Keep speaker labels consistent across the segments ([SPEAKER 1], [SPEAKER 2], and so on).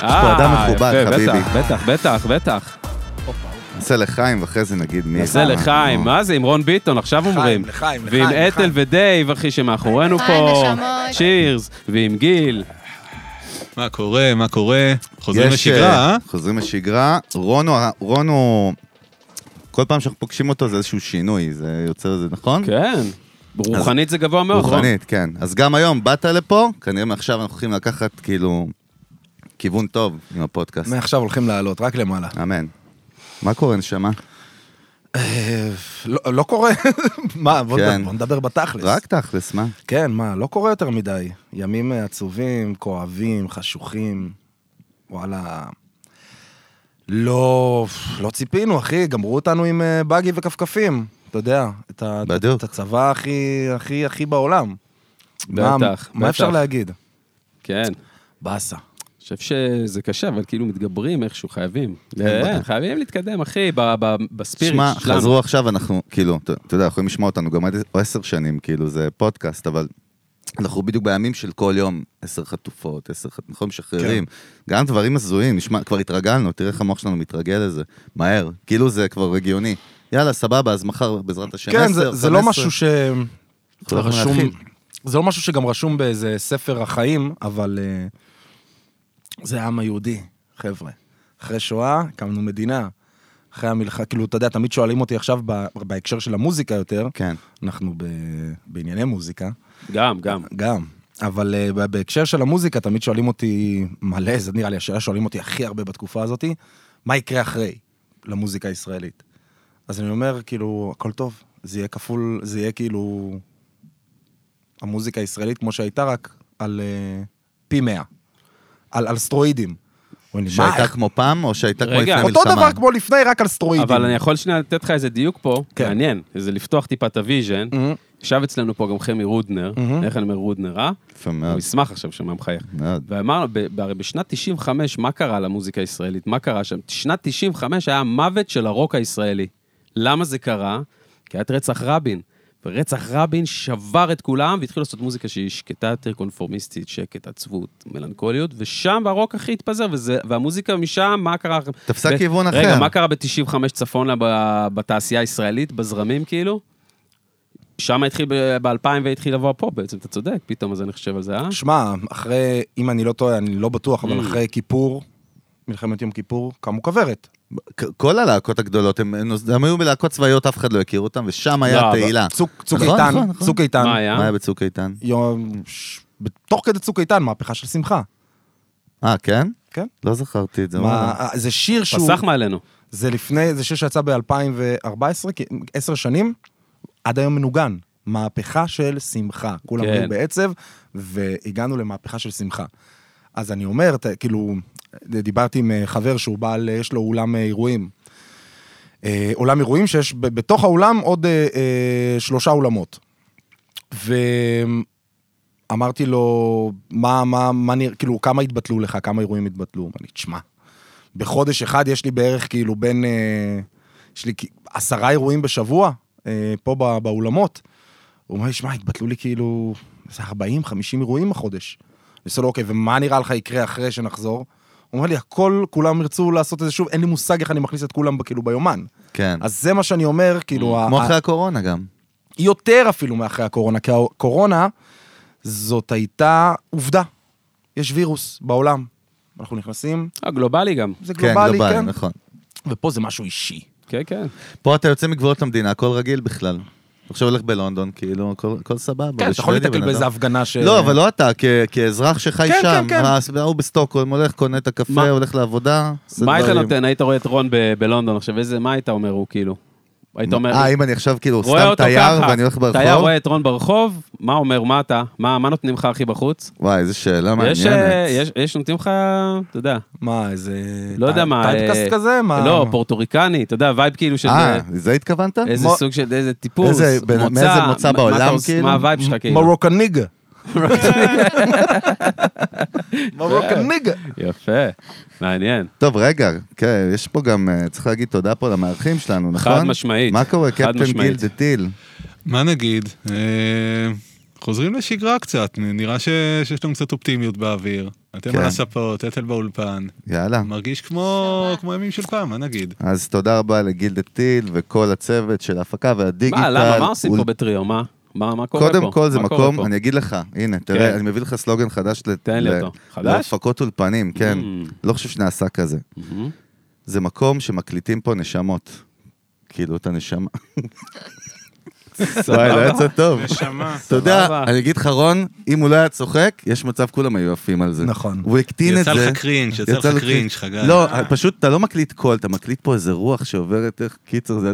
[SPEAKER 1] פה אדם מכובד,
[SPEAKER 2] אה, יפה,
[SPEAKER 1] חביבי.
[SPEAKER 2] בטח, בטח, בטח, בטח.
[SPEAKER 1] נעשה לחיים ואחרי זה נגיד מי.
[SPEAKER 2] נעשה
[SPEAKER 1] זה.
[SPEAKER 2] לחיים, מה זה, עם רון ביטון, עכשיו אומרים.
[SPEAKER 3] לחיים, לחיים,
[SPEAKER 2] ועם
[SPEAKER 3] לחיים.
[SPEAKER 2] אתל ודייב, אחי, שמאחורינו
[SPEAKER 4] היי,
[SPEAKER 2] פה.
[SPEAKER 4] נשמות.
[SPEAKER 2] צ'ירס. ועם גיל.
[SPEAKER 5] מה קורה, מה קורה? חוזרים
[SPEAKER 1] יש,
[SPEAKER 5] לשגרה, אה?
[SPEAKER 1] אה, חוזרים לשגרה. רון הוא- רון הוא... כל פעם שאנחנו פוגשים אותו זה איזשהו שינוי, זה יוצר איזה, נכון?
[SPEAKER 2] כן. נכון. רוחנית זה גבוה מאוד, לא? רון.
[SPEAKER 1] רוחנית, כן. אז גם היום באת לפה, כנראה מעכשיו אנחנו הולכים לקחת כאילו כיוון טוב עם הפודקאסט.
[SPEAKER 3] מעכשיו הולכים לעלות, רק למעלה.
[SPEAKER 1] אמן. מה קורה, נשמה?
[SPEAKER 3] אה, לא- לא קורה, מה, בוא
[SPEAKER 1] כן.
[SPEAKER 3] בוא נדבר בתכלס.
[SPEAKER 1] רק תכלס, מה?
[SPEAKER 3] כן, מה, לא קורה יותר מדי. ימים אה, עצובים, כואבים, חשוכים. וואלה. לא, לא ציפינו, אחי, גמרו אותנו עם אה, באגי וכפכפים. אתה יודע, את, ה-
[SPEAKER 1] בדיוק.
[SPEAKER 3] את הצבא הכי, הכי, הכי בעולם. מה,
[SPEAKER 2] בטח,
[SPEAKER 3] מה
[SPEAKER 2] בטח.
[SPEAKER 3] אפשר להגיד?
[SPEAKER 2] כן.
[SPEAKER 3] באסה.
[SPEAKER 2] אני חושב שזה קשה, אבל כאילו מתגברים איכשהו, חייבים. כן, חייבים להתקדם, אחי, ב- ב- בספיריט
[SPEAKER 1] שמע,
[SPEAKER 2] שלנו.
[SPEAKER 1] חזרו עכשיו, אנחנו, כאילו, אתה אתה יודע, יכולים לשמוע אותנו גם עד עשר שנים, כאילו, זה פודקאסט, אבל אנחנו בדיוק בימים של כל יום, עשר חטופות, עשר חטופות, נכון, משחררים.
[SPEAKER 3] כן.
[SPEAKER 1] גם דברים הזויים, נשמע, כבר התרגלנו, תראה איך המוח שלנו מתרגל לזה, מהר. כאילו זה כבר הגיוני. יאללה, סבבה, אז מחר, בעזרת השם,
[SPEAKER 3] כן,
[SPEAKER 1] עשר,
[SPEAKER 3] זה, זה לא
[SPEAKER 1] 15.
[SPEAKER 3] משהו ש...
[SPEAKER 1] לא יכולים
[SPEAKER 3] רשום...
[SPEAKER 1] להתחיל.
[SPEAKER 3] זה לא משהו שגם רשום באיזה ספר החיים, אבל אה, זה העם היהודי, חבר'ה. אחרי שואה, הקמנו מדינה. אחרי המלחמה, כאילו, אתה יודע, תמיד שואלים אותי עכשיו ב- בהקשר של המוזיקה יותר.
[SPEAKER 1] כן.
[SPEAKER 3] אנחנו ב... בענייני מוזיקה,
[SPEAKER 2] גם, גם.
[SPEAKER 3] גם. אבל אה, ב- בהקשר של המוזיקה, תמיד שואלים אותי מלא, זה נראה לי השאלה שואלים אותי הכי הרבה בתקופה הזאת, מה יקרה אחרי למוזיקה הישראלית? אז אני אומר, כאילו, הכל טוב, זה יהיה כפול, זה יהיה כאילו המוזיקה הישראלית כמו שהייתה, רק על אה, פי מאה, על, על סטרואידים. אומרים לי, "מה,
[SPEAKER 1] שהייתה
[SPEAKER 3] איך-"
[SPEAKER 1] כמו פעם, או שהייתה כמו
[SPEAKER 2] רגע,
[SPEAKER 1] לפני המלחמה?
[SPEAKER 3] אותו דבר כמו לפני, רק על סטרואידים.
[SPEAKER 2] אבל אני יכול שנייה לתת לך איזה דיוק פה,
[SPEAKER 3] כן.
[SPEAKER 2] מעניין, זה לפתוח טיפה את הוויז'ן.
[SPEAKER 3] מהמם.
[SPEAKER 1] Mm-hmm.
[SPEAKER 2] ישב אצלנו פה גם חמי רודנר, איך אני אומר רודנר, אה?
[SPEAKER 1] יפה
[SPEAKER 2] הוא
[SPEAKER 1] מאוד,
[SPEAKER 2] ישמח עכשיו שמה מחייך.
[SPEAKER 1] מאוד.
[SPEAKER 2] ואמרנו, ב- הרי בשנת 95, מה קרה למוזיקה הישראלית? מה קרה שם? שנת 95 היה המוות של הרוק הישראלי. למה זה קרה? כי היה את רצח רבין. ורצח רבין שבר את כולם, והתחילו לעשות מוזיקה שהיא שקטה יותר, קונפורמיסטית, שקט, עצבות, מלנכוליות, ושם הרוק הכי התפזר, וזה, והמוזיקה משם, מה קרה?
[SPEAKER 1] תפסה
[SPEAKER 2] ב-
[SPEAKER 1] כיוון
[SPEAKER 2] רגע,
[SPEAKER 1] אחר.
[SPEAKER 2] מה קרה ב-95 צפונה ב- בתעשייה הישראלית, בזרמים כאילו? שם התחיל, ב-2000 והתחיל לבוא פה בעצם, אתה צודק, פתאום, אז אני חושב על זה, אה?
[SPEAKER 3] שמע, אחרי, אם אני לא טועה, אני לא בטוח, אבל
[SPEAKER 2] Mm.
[SPEAKER 3] אחרי כיפור, מלחמת יום כיפור, קמו כוורת.
[SPEAKER 1] כ- כל הלהקות הגדולות, הם נוס- הם היו בלהקות צבאיות, אף אחד לא הכיר אותם, ושם היה
[SPEAKER 2] לא, אבל-
[SPEAKER 1] תהילה.
[SPEAKER 3] צוק, צוק
[SPEAKER 1] נכון,
[SPEAKER 3] איתן,
[SPEAKER 1] נכון, נכון.
[SPEAKER 3] צוק איתן.
[SPEAKER 2] מה היה?
[SPEAKER 1] מה היה בצוק איתן?
[SPEAKER 3] יום, ש... תוך כדי צוק איתן, מהפכה של שמחה.
[SPEAKER 1] אה, כן?
[SPEAKER 3] כן.
[SPEAKER 1] לא זכרתי את זה.
[SPEAKER 3] מה,
[SPEAKER 1] וואלה.
[SPEAKER 3] אה, זה שיר שהוא,
[SPEAKER 2] פסח מעלינו.
[SPEAKER 3] זה לפני, זה שיר שיצא ב-2014, עשר שנים, עד היום מנוגן. מהפכה של שמחה. כולם
[SPEAKER 2] כן.
[SPEAKER 3] היו בעצב, והגענו למהפכה של שמחה. אז אני אומר, ת- כאילו, דיברתי עם אה, חבר שהוא בעל, אה, יש לו אולם אה, אירועים. אה, אולם אירועים שיש ב- בתוך האולם עוד אה, אה, שלושה אולמות. ואמרתי לו, מה, מה, מה נראה, כאילו, כמה התבטלו לך, כמה אירועים התבטלו? הוא אמר לי, תשמע, בחודש אחד יש לי בערך כאילו בין, אה, יש לי כ- עשרה אירועים בשבוע, אה, פה בא, באולמות. הוא אומר לי, שמע, התבטלו לי כאילו, זה 40-50 אירועים החודש. אני עושה לו, אוקיי, ומה נראה לך יקרה אחרי שנחזור? הוא אומר לי, הכל, כולם ירצו לעשות את זה שוב, אין לי מושג איך אני מכניס את כולם כאילו ביומן.
[SPEAKER 1] כן.
[SPEAKER 3] אז זה מה שאני אומר, כאילו...
[SPEAKER 1] כמו
[SPEAKER 3] ה-
[SPEAKER 1] אחרי הקורונה גם.
[SPEAKER 3] יותר אפילו מאחרי הקורונה, כי הקורונה זאת הייתה עובדה. יש וירוס בעולם. אנחנו נכנסים,
[SPEAKER 2] אה, גלובלי גם.
[SPEAKER 3] זה
[SPEAKER 1] כן,
[SPEAKER 3] גלובלי, כן?
[SPEAKER 1] נכון.
[SPEAKER 3] ופה זה משהו אישי.
[SPEAKER 2] כן, כן.
[SPEAKER 1] פה אתה יוצא מגבולות המדינה, הכל רגיל בכלל. עכשיו הולך בלונדון, כאילו, הכל- הכל סבבה.
[SPEAKER 3] כן, אתה יכול
[SPEAKER 1] בשוודיה,
[SPEAKER 3] להתקל
[SPEAKER 1] בן
[SPEAKER 3] באיזה
[SPEAKER 1] אדם.
[SPEAKER 3] הפגנה ש...
[SPEAKER 1] לא, אבל לא אתה, כ- כאזרח שחי
[SPEAKER 3] כן,
[SPEAKER 1] שם.
[SPEAKER 3] כן, כן.
[SPEAKER 1] כן. הוא בסטוקהולם, הולך, קונה את
[SPEAKER 2] מה?
[SPEAKER 1] הקפה, הולך לעבודה. עושה
[SPEAKER 2] מה היית
[SPEAKER 1] דברים.
[SPEAKER 2] נותן? היית רואה את רון ב- בלונדון עכשיו, איזה, מה היית אומר הוא כאילו? היית אומר,
[SPEAKER 1] אה, אם אני עכשיו כאילו
[SPEAKER 2] רואה
[SPEAKER 1] סתם
[SPEAKER 2] אותו
[SPEAKER 1] תייר
[SPEAKER 2] ככה,
[SPEAKER 1] ואני הולך
[SPEAKER 2] תייר
[SPEAKER 1] ברחוב?
[SPEAKER 2] רואה את רון ברחוב, מה אומר, מה אתה? מה מה נותנים לך הכי בחוץ?
[SPEAKER 1] וואי, איזה שאלה
[SPEAKER 2] יש, אה,
[SPEAKER 1] מעניינת.
[SPEAKER 2] יש- יש, נותנים לך, אתה יודע,
[SPEAKER 3] מה, איזה...
[SPEAKER 2] לא יודע מה, אה,
[SPEAKER 3] טייפקאסט כזה? מה?
[SPEAKER 2] לא, פורטוריקני, אתה יודע, וייב כאילו של
[SPEAKER 1] אה,
[SPEAKER 2] אה,
[SPEAKER 1] זה התכוונת?
[SPEAKER 2] איזה
[SPEAKER 1] מו-
[SPEAKER 2] סוג של, איזה טיפוס,
[SPEAKER 1] איזה- בין- מאיזה מוצא
[SPEAKER 2] מה- מה
[SPEAKER 1] בעולם,
[SPEAKER 2] אתה עוש-
[SPEAKER 1] כאילו?
[SPEAKER 2] מה הווייב שלך כאילו?
[SPEAKER 3] מרוקניגה. מרוקניגה.
[SPEAKER 2] יפה, מעניין.
[SPEAKER 1] טוב, רגע, כן, יש פה גם, אה, צריך להגיד תודה פה למארחים שלנו, נכון?
[SPEAKER 2] חד משמעית,
[SPEAKER 1] מה קורה,
[SPEAKER 2] חד
[SPEAKER 1] קפטן גיל
[SPEAKER 2] משמעית.
[SPEAKER 1] דה טיל?
[SPEAKER 5] מה נגיד? אה, חוזרים לשגרה קצת, נ- נראה ש- שיש לנו קצת אופטימיות באוויר. אתם
[SPEAKER 1] כן.
[SPEAKER 5] על הספות, אתל באולפן.
[SPEAKER 1] יאללה.
[SPEAKER 5] מרגיש כמו כמו ימים של פעם, מה נגיד?
[SPEAKER 1] אז תודה רבה לגילדת טיל וכל הצוות של ההפקה והדיגיטל.
[SPEAKER 2] מה, למה, מה עושים
[SPEAKER 1] אול-
[SPEAKER 2] פה בטריו? מה? מה מה קורה פה?
[SPEAKER 1] קודם כל זה
[SPEAKER 2] מה קורה
[SPEAKER 1] מקום,
[SPEAKER 2] פה?
[SPEAKER 1] אני אגיד לך, הנה,
[SPEAKER 2] כן.
[SPEAKER 1] תראה, אני מביא לך סלוגן חדש ל-
[SPEAKER 2] תן לי
[SPEAKER 1] ל-
[SPEAKER 2] אותו. חדש?
[SPEAKER 1] להפקות אולפנים, כן.
[SPEAKER 2] Mm. Mm-hmm.
[SPEAKER 1] לא חושב שנעשה כזה.
[SPEAKER 2] מהמם.
[SPEAKER 1] זה מקום שמקליטים פה נשמות. כאילו, את הנשמה. וואי, לא יצא טוב.
[SPEAKER 4] נשמה.
[SPEAKER 1] אתה יודע,
[SPEAKER 2] סבבה.
[SPEAKER 1] אני אגיד לך, רון, אם הוא לא היה צוחק, יש מצב כולם היו עפים על זה.
[SPEAKER 3] נכון.
[SPEAKER 1] הוא הקטין את זה.
[SPEAKER 5] יצא לך קרינג', יצא לך קרינג', חגי.
[SPEAKER 1] לא, פשוט אתה לא מקליט קול, אתה מקליט פה איזה רוח שעוברת איך קיצר זה...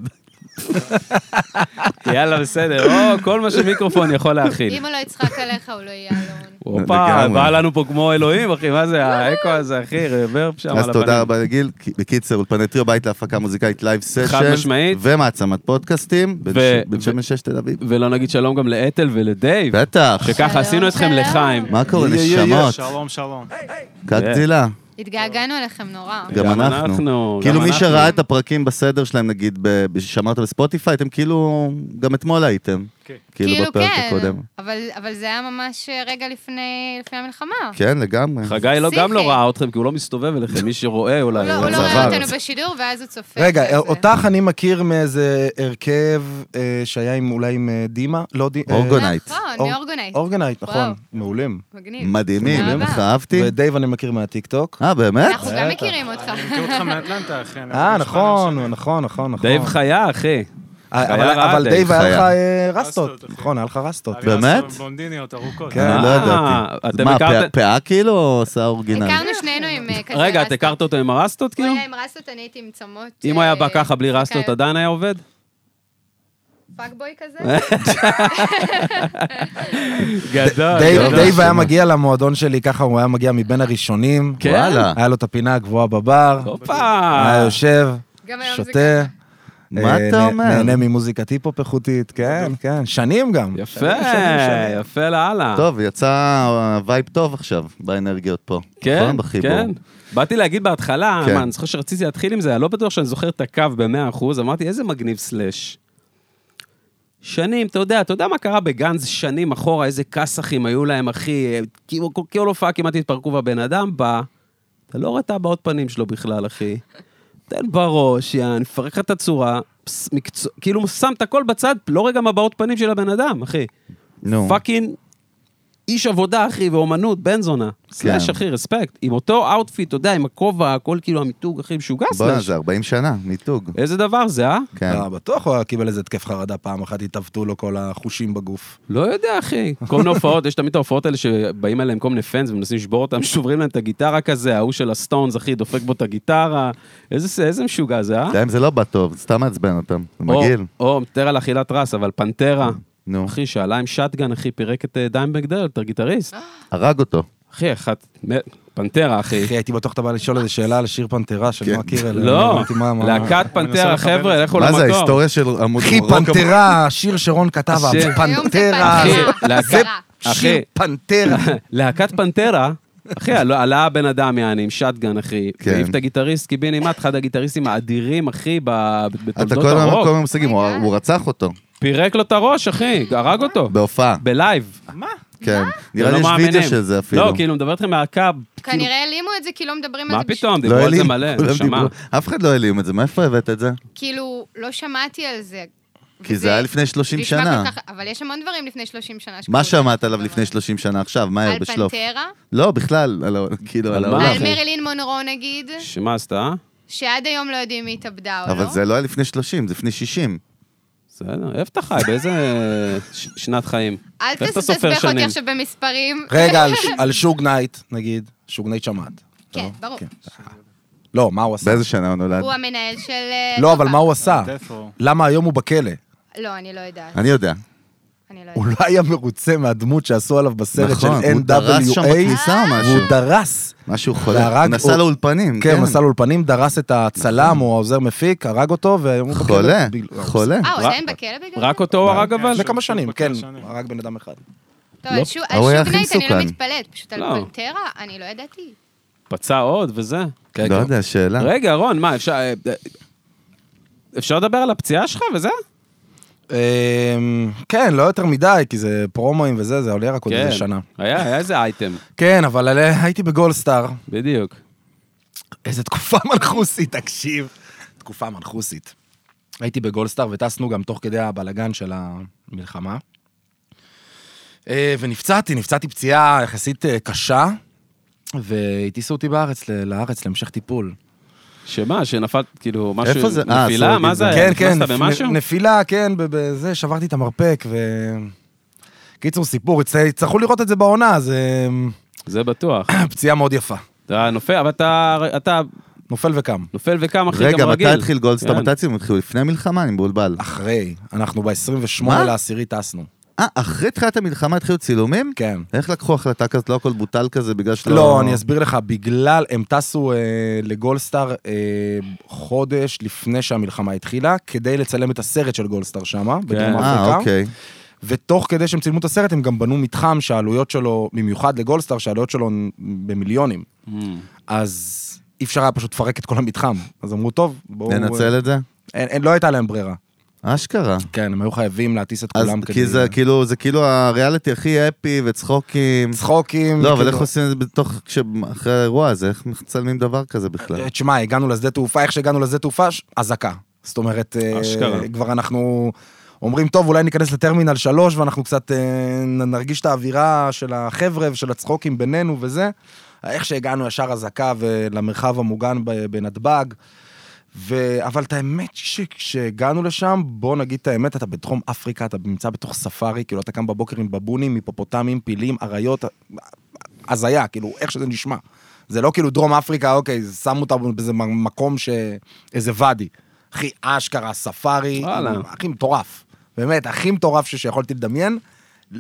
[SPEAKER 2] יאללה, בסדר. או, כל מה שמיקרופון יכול להכיל.
[SPEAKER 6] אם הוא לא יצחק עליך, הוא לא יהיה אלון.
[SPEAKER 2] הופה,
[SPEAKER 1] לגמרי.
[SPEAKER 2] בא לנו פה כמו אלוהים, אחי, מה זה, האקו הזה, אחי, רבר שם על
[SPEAKER 1] אז
[SPEAKER 2] הפנים.
[SPEAKER 1] תודה רבה לגיל. כי- בקיצר, אולפני טריו בית להפקה מוזיקאית לייב סשן.
[SPEAKER 2] משמעית.
[SPEAKER 1] ומעצמת פודקאסטים. בן
[SPEAKER 2] ו-
[SPEAKER 1] ש- בן
[SPEAKER 2] ו-
[SPEAKER 1] שמן שש תל אביב.
[SPEAKER 2] ולא נגיד שלום גם לאתל ולדייב,
[SPEAKER 1] בטח.
[SPEAKER 2] שככה עשינו אתכם
[SPEAKER 6] שלום.
[SPEAKER 2] לחיים.
[SPEAKER 1] מה קורה,
[SPEAKER 3] יא, יא, יא,
[SPEAKER 1] נשמות?
[SPEAKER 4] שלום, שלום.
[SPEAKER 1] קקצילה.
[SPEAKER 6] התגעגענו אליכם נורא.
[SPEAKER 1] גם
[SPEAKER 2] כן. גם
[SPEAKER 1] אנחנו.
[SPEAKER 2] אנחנו,
[SPEAKER 1] כאילו
[SPEAKER 2] גם
[SPEAKER 1] מי
[SPEAKER 2] אנחנו.
[SPEAKER 1] שראה את הפרקים בסדר שלהם, נגיד, ב- ב- שמרת בספוטיפיי, אתם כאילו, גם אתמול הייתם.
[SPEAKER 4] כן.
[SPEAKER 1] כאילו בפרק
[SPEAKER 6] כן,
[SPEAKER 1] הקודם.
[SPEAKER 6] אבל, אבל זה היה ממש אה, רגע לפני, לפני המלחמה.
[SPEAKER 1] כן, לגמרי.
[SPEAKER 2] חגי לא גם לא ראה אתכם, כי הוא לא מסתובב אליכם, מי שרואה
[SPEAKER 6] הוא
[SPEAKER 2] אולי.
[SPEAKER 6] לא, הוא לא
[SPEAKER 1] זה
[SPEAKER 6] רואה
[SPEAKER 1] עבר.
[SPEAKER 6] אותנו בשידור, ואז הוא צופה.
[SPEAKER 3] רגע, אה,
[SPEAKER 6] כזה.
[SPEAKER 3] אותך אני מכיר מאיזה הרכב אה, שהיה עם- אולי עם אה, דימה, לא דימה.
[SPEAKER 1] אורגונייט.
[SPEAKER 6] נכון,
[SPEAKER 3] אור-
[SPEAKER 6] אורגונייט.
[SPEAKER 3] אורגנייט, נכון,
[SPEAKER 6] וואו.
[SPEAKER 3] מעולים.
[SPEAKER 6] מגניב.
[SPEAKER 1] מדהימים,
[SPEAKER 6] תודה
[SPEAKER 1] איך
[SPEAKER 6] רבה.
[SPEAKER 1] אהבתי.
[SPEAKER 3] ודייב אני מכיר מהטיקטוק.
[SPEAKER 1] אה, באמת?
[SPEAKER 6] אנחנו גם מכירים אותך.
[SPEAKER 4] אני מכיר אותך מאטלנטה, אחי.
[SPEAKER 1] כן,
[SPEAKER 4] אני
[SPEAKER 3] אה,
[SPEAKER 4] חבר שלנו
[SPEAKER 3] נכון,
[SPEAKER 4] שנים.
[SPEAKER 3] נכון, נכון, נכון.
[SPEAKER 2] דייב חיה, אחי.
[SPEAKER 3] אה,
[SPEAKER 2] חיה
[SPEAKER 3] אבל
[SPEAKER 2] רעה,
[SPEAKER 3] אבל
[SPEAKER 2] דייב.
[SPEAKER 3] דייב היה
[SPEAKER 1] חיה.
[SPEAKER 3] לך אה, רסטות,
[SPEAKER 4] רסטות, אחי.
[SPEAKER 3] נכון, היה לך רסטות.
[SPEAKER 7] לא,
[SPEAKER 4] אבי עשו
[SPEAKER 1] באמת?
[SPEAKER 4] בלונדיניות ארוכות.
[SPEAKER 3] כן.
[SPEAKER 1] לא
[SPEAKER 2] אה,
[SPEAKER 1] ידעתי.
[SPEAKER 2] אתם
[SPEAKER 1] מה,
[SPEAKER 2] הכרתם-
[SPEAKER 1] פאה- פאה כאילו או עושה אורגינל?
[SPEAKER 6] הכרנו שנינו עם אה, כזה
[SPEAKER 2] רגע, את
[SPEAKER 6] רסטות.
[SPEAKER 2] הכרת אותו עם הרסטות,
[SPEAKER 6] הוא
[SPEAKER 2] כאילו?
[SPEAKER 6] היה עם רסטות, אני הייתי עם אה, צמות.
[SPEAKER 2] אם הוא
[SPEAKER 6] אה,
[SPEAKER 2] היה בא ככה בלי רסטות,
[SPEAKER 6] כאלה.
[SPEAKER 2] עדיין היה עובד?
[SPEAKER 6] פאקבוי כזה?
[SPEAKER 2] גדול.
[SPEAKER 3] דייב-
[SPEAKER 1] גדול.
[SPEAKER 3] דייב היה מגיע למועדון שלי, ככה הוא היה מגיע מבין הראשונים.
[SPEAKER 2] כן?
[SPEAKER 1] וואלה.
[SPEAKER 3] היה לו את הפינה הגבוהה בבר,
[SPEAKER 2] הופה.
[SPEAKER 6] אוקיי.
[SPEAKER 1] אה,
[SPEAKER 3] היה יושב,
[SPEAKER 6] גם היום זה
[SPEAKER 3] שותה.
[SPEAKER 1] מה
[SPEAKER 3] אה,
[SPEAKER 1] אתה
[SPEAKER 3] נה-
[SPEAKER 1] אומר?
[SPEAKER 3] נהנה ממוזיקת היפ-הופ איכותית, כן, כן, שנים גם.
[SPEAKER 2] יפה,
[SPEAKER 3] שנים, שנים, שנים.
[SPEAKER 2] יפה לאללה.
[SPEAKER 1] טוב, יצא וייב טוב עכשיו, באנרגיות פה.
[SPEAKER 2] כן,
[SPEAKER 1] נכון? בחיבור.
[SPEAKER 2] כן. באתי להגיד בהתחלה,
[SPEAKER 1] כן.
[SPEAKER 2] מה, אני זוכר שרציתי להתחיל עם זה, אני לא בטוח שאני זוכר את הקו ב-100%, אמרתי, איזה מגניב סלאש. שנים, אתה יודע, אתה יודע מה קרה בגנז שנים אחורה, איזה כסאחים היו להם, אחי, כאילו כל- כל הופעה כמעט התפרקו, והבן אדם בא, אתה לא רואה את הבעות פנים שלו בכלל, אחי. תן בראש, יען, פרק לך את הצורה, פס, מקצוע, כאילו שם את הכל בצד, לא רואה גם הבעות פנים של הבן אדם, אחי.
[SPEAKER 1] נו.
[SPEAKER 2] פאקינג איש עבודה, אחי, ואומנות, בן זונה.
[SPEAKER 1] כן.
[SPEAKER 2] סלאש, אחי, רספקט. עם אותו אאוטפיט, אתה יודע, עם הכובע, הכל כאילו המיתוג, אחי, משוגע
[SPEAKER 1] בוא'נה,
[SPEAKER 2] סלאש.
[SPEAKER 1] זה 40 שנה, מיתוג.
[SPEAKER 2] איזה דבר זה, אה?
[SPEAKER 1] כן.
[SPEAKER 3] לא, בטוח הוא היה קיבל איזה התקף חרדה פעם אחת, התעוותו לו כל החושים בגוף.
[SPEAKER 2] לא יודע, אחי. כל מיני הופעות, יש תמיד את ההופעות האלה שבאים אליהם כל מיני פאנס ומנסים לשבור אותם, שוברים להם את הגיטרה כזה, ההוא של הסטונס, אחי, דופק בו את הגיטרה. איזה איזה משוגע זה, אה?
[SPEAKER 1] להם זה לא בא טוב, סתם מעצבן אותם. זה מגעיל.
[SPEAKER 2] או, או, מטר על אכילת רס, אבל פנטרה.
[SPEAKER 1] נו.
[SPEAKER 2] אחי, שעלה עם שטגן, אחי, פירק את אה, דיימבג דרל, את הגיטריסט.
[SPEAKER 1] הרג אותו.
[SPEAKER 2] אחי, אחת, פנטרה, אחי.
[SPEAKER 3] אחי, הייתי בטוח אתה בא לשאול איזה שאלה על שיר פנתרה, שאני
[SPEAKER 1] כן.
[SPEAKER 3] לא מכיר אליה.
[SPEAKER 2] לא,
[SPEAKER 3] אמרתי, מה, מה-
[SPEAKER 2] להקת פנטרה,
[SPEAKER 4] לחבר את
[SPEAKER 2] חבר'ה,
[SPEAKER 4] זה.
[SPEAKER 2] לכו למקום.
[SPEAKER 1] מה זה, ההיסטוריה של עמוד...
[SPEAKER 3] אחי,
[SPEAKER 1] רוק המ-
[SPEAKER 3] פנתרה, שיר שרון כתב,
[SPEAKER 2] השיר.
[SPEAKER 6] היום זה
[SPEAKER 3] פנתרה.
[SPEAKER 6] פנתרה.
[SPEAKER 2] אחי, להקת-
[SPEAKER 3] שיר
[SPEAKER 2] אחי,
[SPEAKER 3] פנתרה.
[SPEAKER 2] להקת פנטרה, אחי, עלה- עלה הבן אדם, יעני, עם שטגן, אחי.
[SPEAKER 1] כן.
[SPEAKER 2] העיף את הגיטריסט, קיבינימט, אחד הגיטריסטים האדירים, אחי, ב-
[SPEAKER 1] אתה
[SPEAKER 2] בתולדות
[SPEAKER 1] כל הזמן כל
[SPEAKER 2] הרוק.
[SPEAKER 1] מיני מושגים, הוא-
[SPEAKER 6] אומייגאד.
[SPEAKER 1] הוא רצח אותו,
[SPEAKER 2] פירק לו את הראש, אחי, הרג אותו.
[SPEAKER 1] בהופעה.
[SPEAKER 2] בלייב.
[SPEAKER 6] אה,
[SPEAKER 1] כן. נראה
[SPEAKER 2] לא
[SPEAKER 1] לי יש
[SPEAKER 2] מאמינים.
[SPEAKER 1] וידאו של זה אפילו.
[SPEAKER 2] לא, כאילו, מדבר איתכם מהקו. כאילו,
[SPEAKER 6] כנראה העלימו את זה כי לא מדברים על
[SPEAKER 2] מה
[SPEAKER 6] זה. בש-
[SPEAKER 2] פתאום,
[SPEAKER 1] לא
[SPEAKER 2] דיברו על זה
[SPEAKER 1] העלים,
[SPEAKER 2] מלא,
[SPEAKER 1] כולם
[SPEAKER 2] נשמה.
[SPEAKER 1] דיברו. אף אחד לא העלים את זה, מאיפה הבאת את זה?
[SPEAKER 6] כאילו, לא שמעתי על זה.
[SPEAKER 1] כי זה
[SPEAKER 6] וזה
[SPEAKER 1] היה לפני 30
[SPEAKER 6] נשמע
[SPEAKER 1] שנה.
[SPEAKER 6] כל כך- אבל יש המון דברים לפני 30 שנה. שקרו. נכון.
[SPEAKER 1] מה שמעת עליו לפני 30 שנה עכשיו? מהר,
[SPEAKER 6] על
[SPEAKER 1] בשלוף.
[SPEAKER 6] פנתרה,
[SPEAKER 1] לא, בכלל, על ה- כאילו, על
[SPEAKER 2] על מה?
[SPEAKER 1] העולם.
[SPEAKER 6] על
[SPEAKER 2] אחי.
[SPEAKER 6] מרילין מונרו נגיד,
[SPEAKER 2] שמה עשתה? אה?
[SPEAKER 6] שעד היום לא יודעים מי התאבדה או לא.
[SPEAKER 1] אבל זה לא היה לפני 30, זה לפני 60.
[SPEAKER 2] בסדר, איפה אתה חי? באיזה ש- שנת חיים?
[SPEAKER 6] אל
[SPEAKER 2] איך אתה
[SPEAKER 6] תס-
[SPEAKER 2] סופר
[SPEAKER 6] תסבך אותי
[SPEAKER 2] שנים?
[SPEAKER 6] עכשיו במספרים.
[SPEAKER 3] רגע, על- על שוג נייט, נגיד, שוג נייט שמעת.
[SPEAKER 6] כן, ברור.
[SPEAKER 3] כן. לא, מה הוא עשה?
[SPEAKER 1] באיזה שנה הוא נולד?
[SPEAKER 6] הוא המנהל של... אה,
[SPEAKER 3] לא,
[SPEAKER 6] טובה.
[SPEAKER 3] אבל מה הוא עשה?
[SPEAKER 4] Death Row.
[SPEAKER 3] למה היום הוא בכלא?
[SPEAKER 6] לא, אני לא יודעת.
[SPEAKER 1] אני יודע.
[SPEAKER 6] אני לא
[SPEAKER 3] הוא
[SPEAKER 6] יודעת.
[SPEAKER 3] לא היה מרוצה מהדמות שעשו עליו בסרט של
[SPEAKER 1] נכון, הוא דרס שם
[SPEAKER 3] NWA,
[SPEAKER 1] בכניסה או משהו. כן.
[SPEAKER 3] והוא דרס.
[SPEAKER 1] משהו חולה. הוא
[SPEAKER 3] אה? והרג-
[SPEAKER 1] נסע
[SPEAKER 3] הוא-
[SPEAKER 1] לאולפנים,
[SPEAKER 3] כן,
[SPEAKER 1] כן.
[SPEAKER 3] הוא נסע לאולפנים, דרס את הצלם או העוזר מפיק, הרג אותו, והיום הוא כאילו- בכלא.
[SPEAKER 1] נכון. חולה,
[SPEAKER 3] ב-
[SPEAKER 1] חולה.
[SPEAKER 6] אה, הוא
[SPEAKER 2] רק-
[SPEAKER 6] עדיין בכלא בגלל זה?
[SPEAKER 2] רק אותו הוא הרג אבל?
[SPEAKER 3] לפני כמה שנים, כן,
[SPEAKER 4] שנים.
[SPEAKER 3] הרג בן אדם אחד.
[SPEAKER 6] טוב, לא, על שו- על
[SPEAKER 1] הוא היה הכי
[SPEAKER 6] שוגנייט אני לא
[SPEAKER 1] מסוכן.
[SPEAKER 6] מתפלאת, פשוט על
[SPEAKER 2] לא.
[SPEAKER 6] פנתרה אני לא ידעתי.
[SPEAKER 2] פצע עוד וזה.
[SPEAKER 1] לא יודע, שאלה.
[SPEAKER 2] אה, רגע, רון, מה, אפשר... אה, אה, אפשר לדבר על הפציעה שלך וזה?
[SPEAKER 3] אמ, כן, לא יותר מדי, כי זה פרומואים וזה, זה עולה רק עוד
[SPEAKER 2] כן.
[SPEAKER 3] איזה שנה.
[SPEAKER 2] היה, היה איזה אייטם,
[SPEAKER 3] כן, אבל עלה- הייתי בגולדסטאר.
[SPEAKER 2] בדיוק.
[SPEAKER 3] איזה תקופה מנחוסית, תקשיב. תקופה מנחוסית. הייתי בגולדסטאר וטסנו גם תוך כדי הבלגן של המלחמה. אה, ונפצעתי, נפצעתי פציעה יחסית אה, קשה, והטיסו אותי בארץ, ל- לארץ להמשך טיפול.
[SPEAKER 2] שמה, שנפל, כאילו, משהו,
[SPEAKER 1] איפה זה? אה,
[SPEAKER 2] נפילה?
[SPEAKER 1] אסור
[SPEAKER 2] מה
[SPEAKER 1] להגיד
[SPEAKER 2] זה
[SPEAKER 1] את
[SPEAKER 2] היה?
[SPEAKER 3] כן, כן,
[SPEAKER 2] נכנסת
[SPEAKER 3] נפ-
[SPEAKER 2] במשהו?
[SPEAKER 3] נפילה, כן, ב- בזה, שברתי את המרפק, ו... קיצור, סיפור, יצ- יצטרכו לראות את זה בעונה, זה
[SPEAKER 2] זה בטוח.
[SPEAKER 3] פציעה מאוד יפה.
[SPEAKER 2] אתה נופל, אבל אתה, אתה
[SPEAKER 3] נופל וקם.
[SPEAKER 2] נופל וקם, אחי,
[SPEAKER 1] רגע,
[SPEAKER 2] גם רגיל.
[SPEAKER 1] מתי התחיל גולדסטאר?
[SPEAKER 2] כן.
[SPEAKER 1] מתי הציבור התחילו? לפני מלחמה? אני מבולבל.
[SPEAKER 3] אה. אחרי, אנחנו ב-28
[SPEAKER 1] מה?
[SPEAKER 3] לעשירי טסנו.
[SPEAKER 1] אה, אחרי תחילת המלחמה התחילו צילומים?
[SPEAKER 3] כן.
[SPEAKER 1] איך לקחו החלטה כזאת? לא הכל בוטל כזה בגלל שלא...
[SPEAKER 3] לא, אני אסביר לך, בגלל, הם טסו אה, לגולדסטאר אה, חודש לפני שהמלחמה התחילה, כדי לצלם את הסרט של גולדסטאר שמה, בדרום
[SPEAKER 1] אה,
[SPEAKER 3] אפריקה.
[SPEAKER 1] אוקיי.
[SPEAKER 3] ותוך כדי שהם צילמו את הסרט, הם גם בנו מתחם שהעלויות שלו, במיוחד לגולדסטאר, שהעלויות שלו הן במיליונים.
[SPEAKER 2] Mm.
[SPEAKER 3] אז אי אפשר היה פשוט לפרק את כל המתחם. אז אמרו, טוב, בואו...
[SPEAKER 1] ננצל את זה?
[SPEAKER 3] אין, אין, לא הייתה להם ברירה.
[SPEAKER 1] אשכרה.
[SPEAKER 3] כן, הם היו חייבים להטיס את
[SPEAKER 1] אז
[SPEAKER 3] כולם
[SPEAKER 1] כי זה כאילו, זה כאילו הריאליטי הכי אפי וצחוקים.
[SPEAKER 3] צחוקים.
[SPEAKER 1] לא, אבל
[SPEAKER 3] כאילו-
[SPEAKER 1] איך עושים את זה בתוך, כש- אחרי האירוע הזה, איך מצלמים דבר כזה בכלל?
[SPEAKER 3] אה, תשמע, הגענו לשדה תעופה, איך שהגענו לשדה תעופה, ש- אזעקה. זאת אומרת, אה,
[SPEAKER 2] אשכרה.
[SPEAKER 3] כבר אנחנו אומרים, טוב, אולי ניכנס לטרמינל 3, ואנחנו קצת אה, נ- נרגיש את האווירה של החבר'ה ושל הצחוקים בינינו וזה. איך שהגענו ישר אזעקה ולמרחב המוגן ב- בנתב"ג. ו... אבל את האמת שכשהגענו לשם, בוא נגיד את האמת, אתה בדרום אפריקה, אתה נמצא בתוך ספארי, כאילו אתה קם בבוקר עם בבונים, היפופוטמים, פילים, אריות, הזיה, כאילו, איך שזה נשמע. זה לא כאילו דרום אפריקה, אוקיי, שמו אותנו באיזה מ- מקום ש... איזה ואדי. אחי, אשכרה, ספארי,
[SPEAKER 2] וואלה.
[SPEAKER 3] הכי מטורף. באמת, הכי מטורף ש... שיכולתי לדמיין.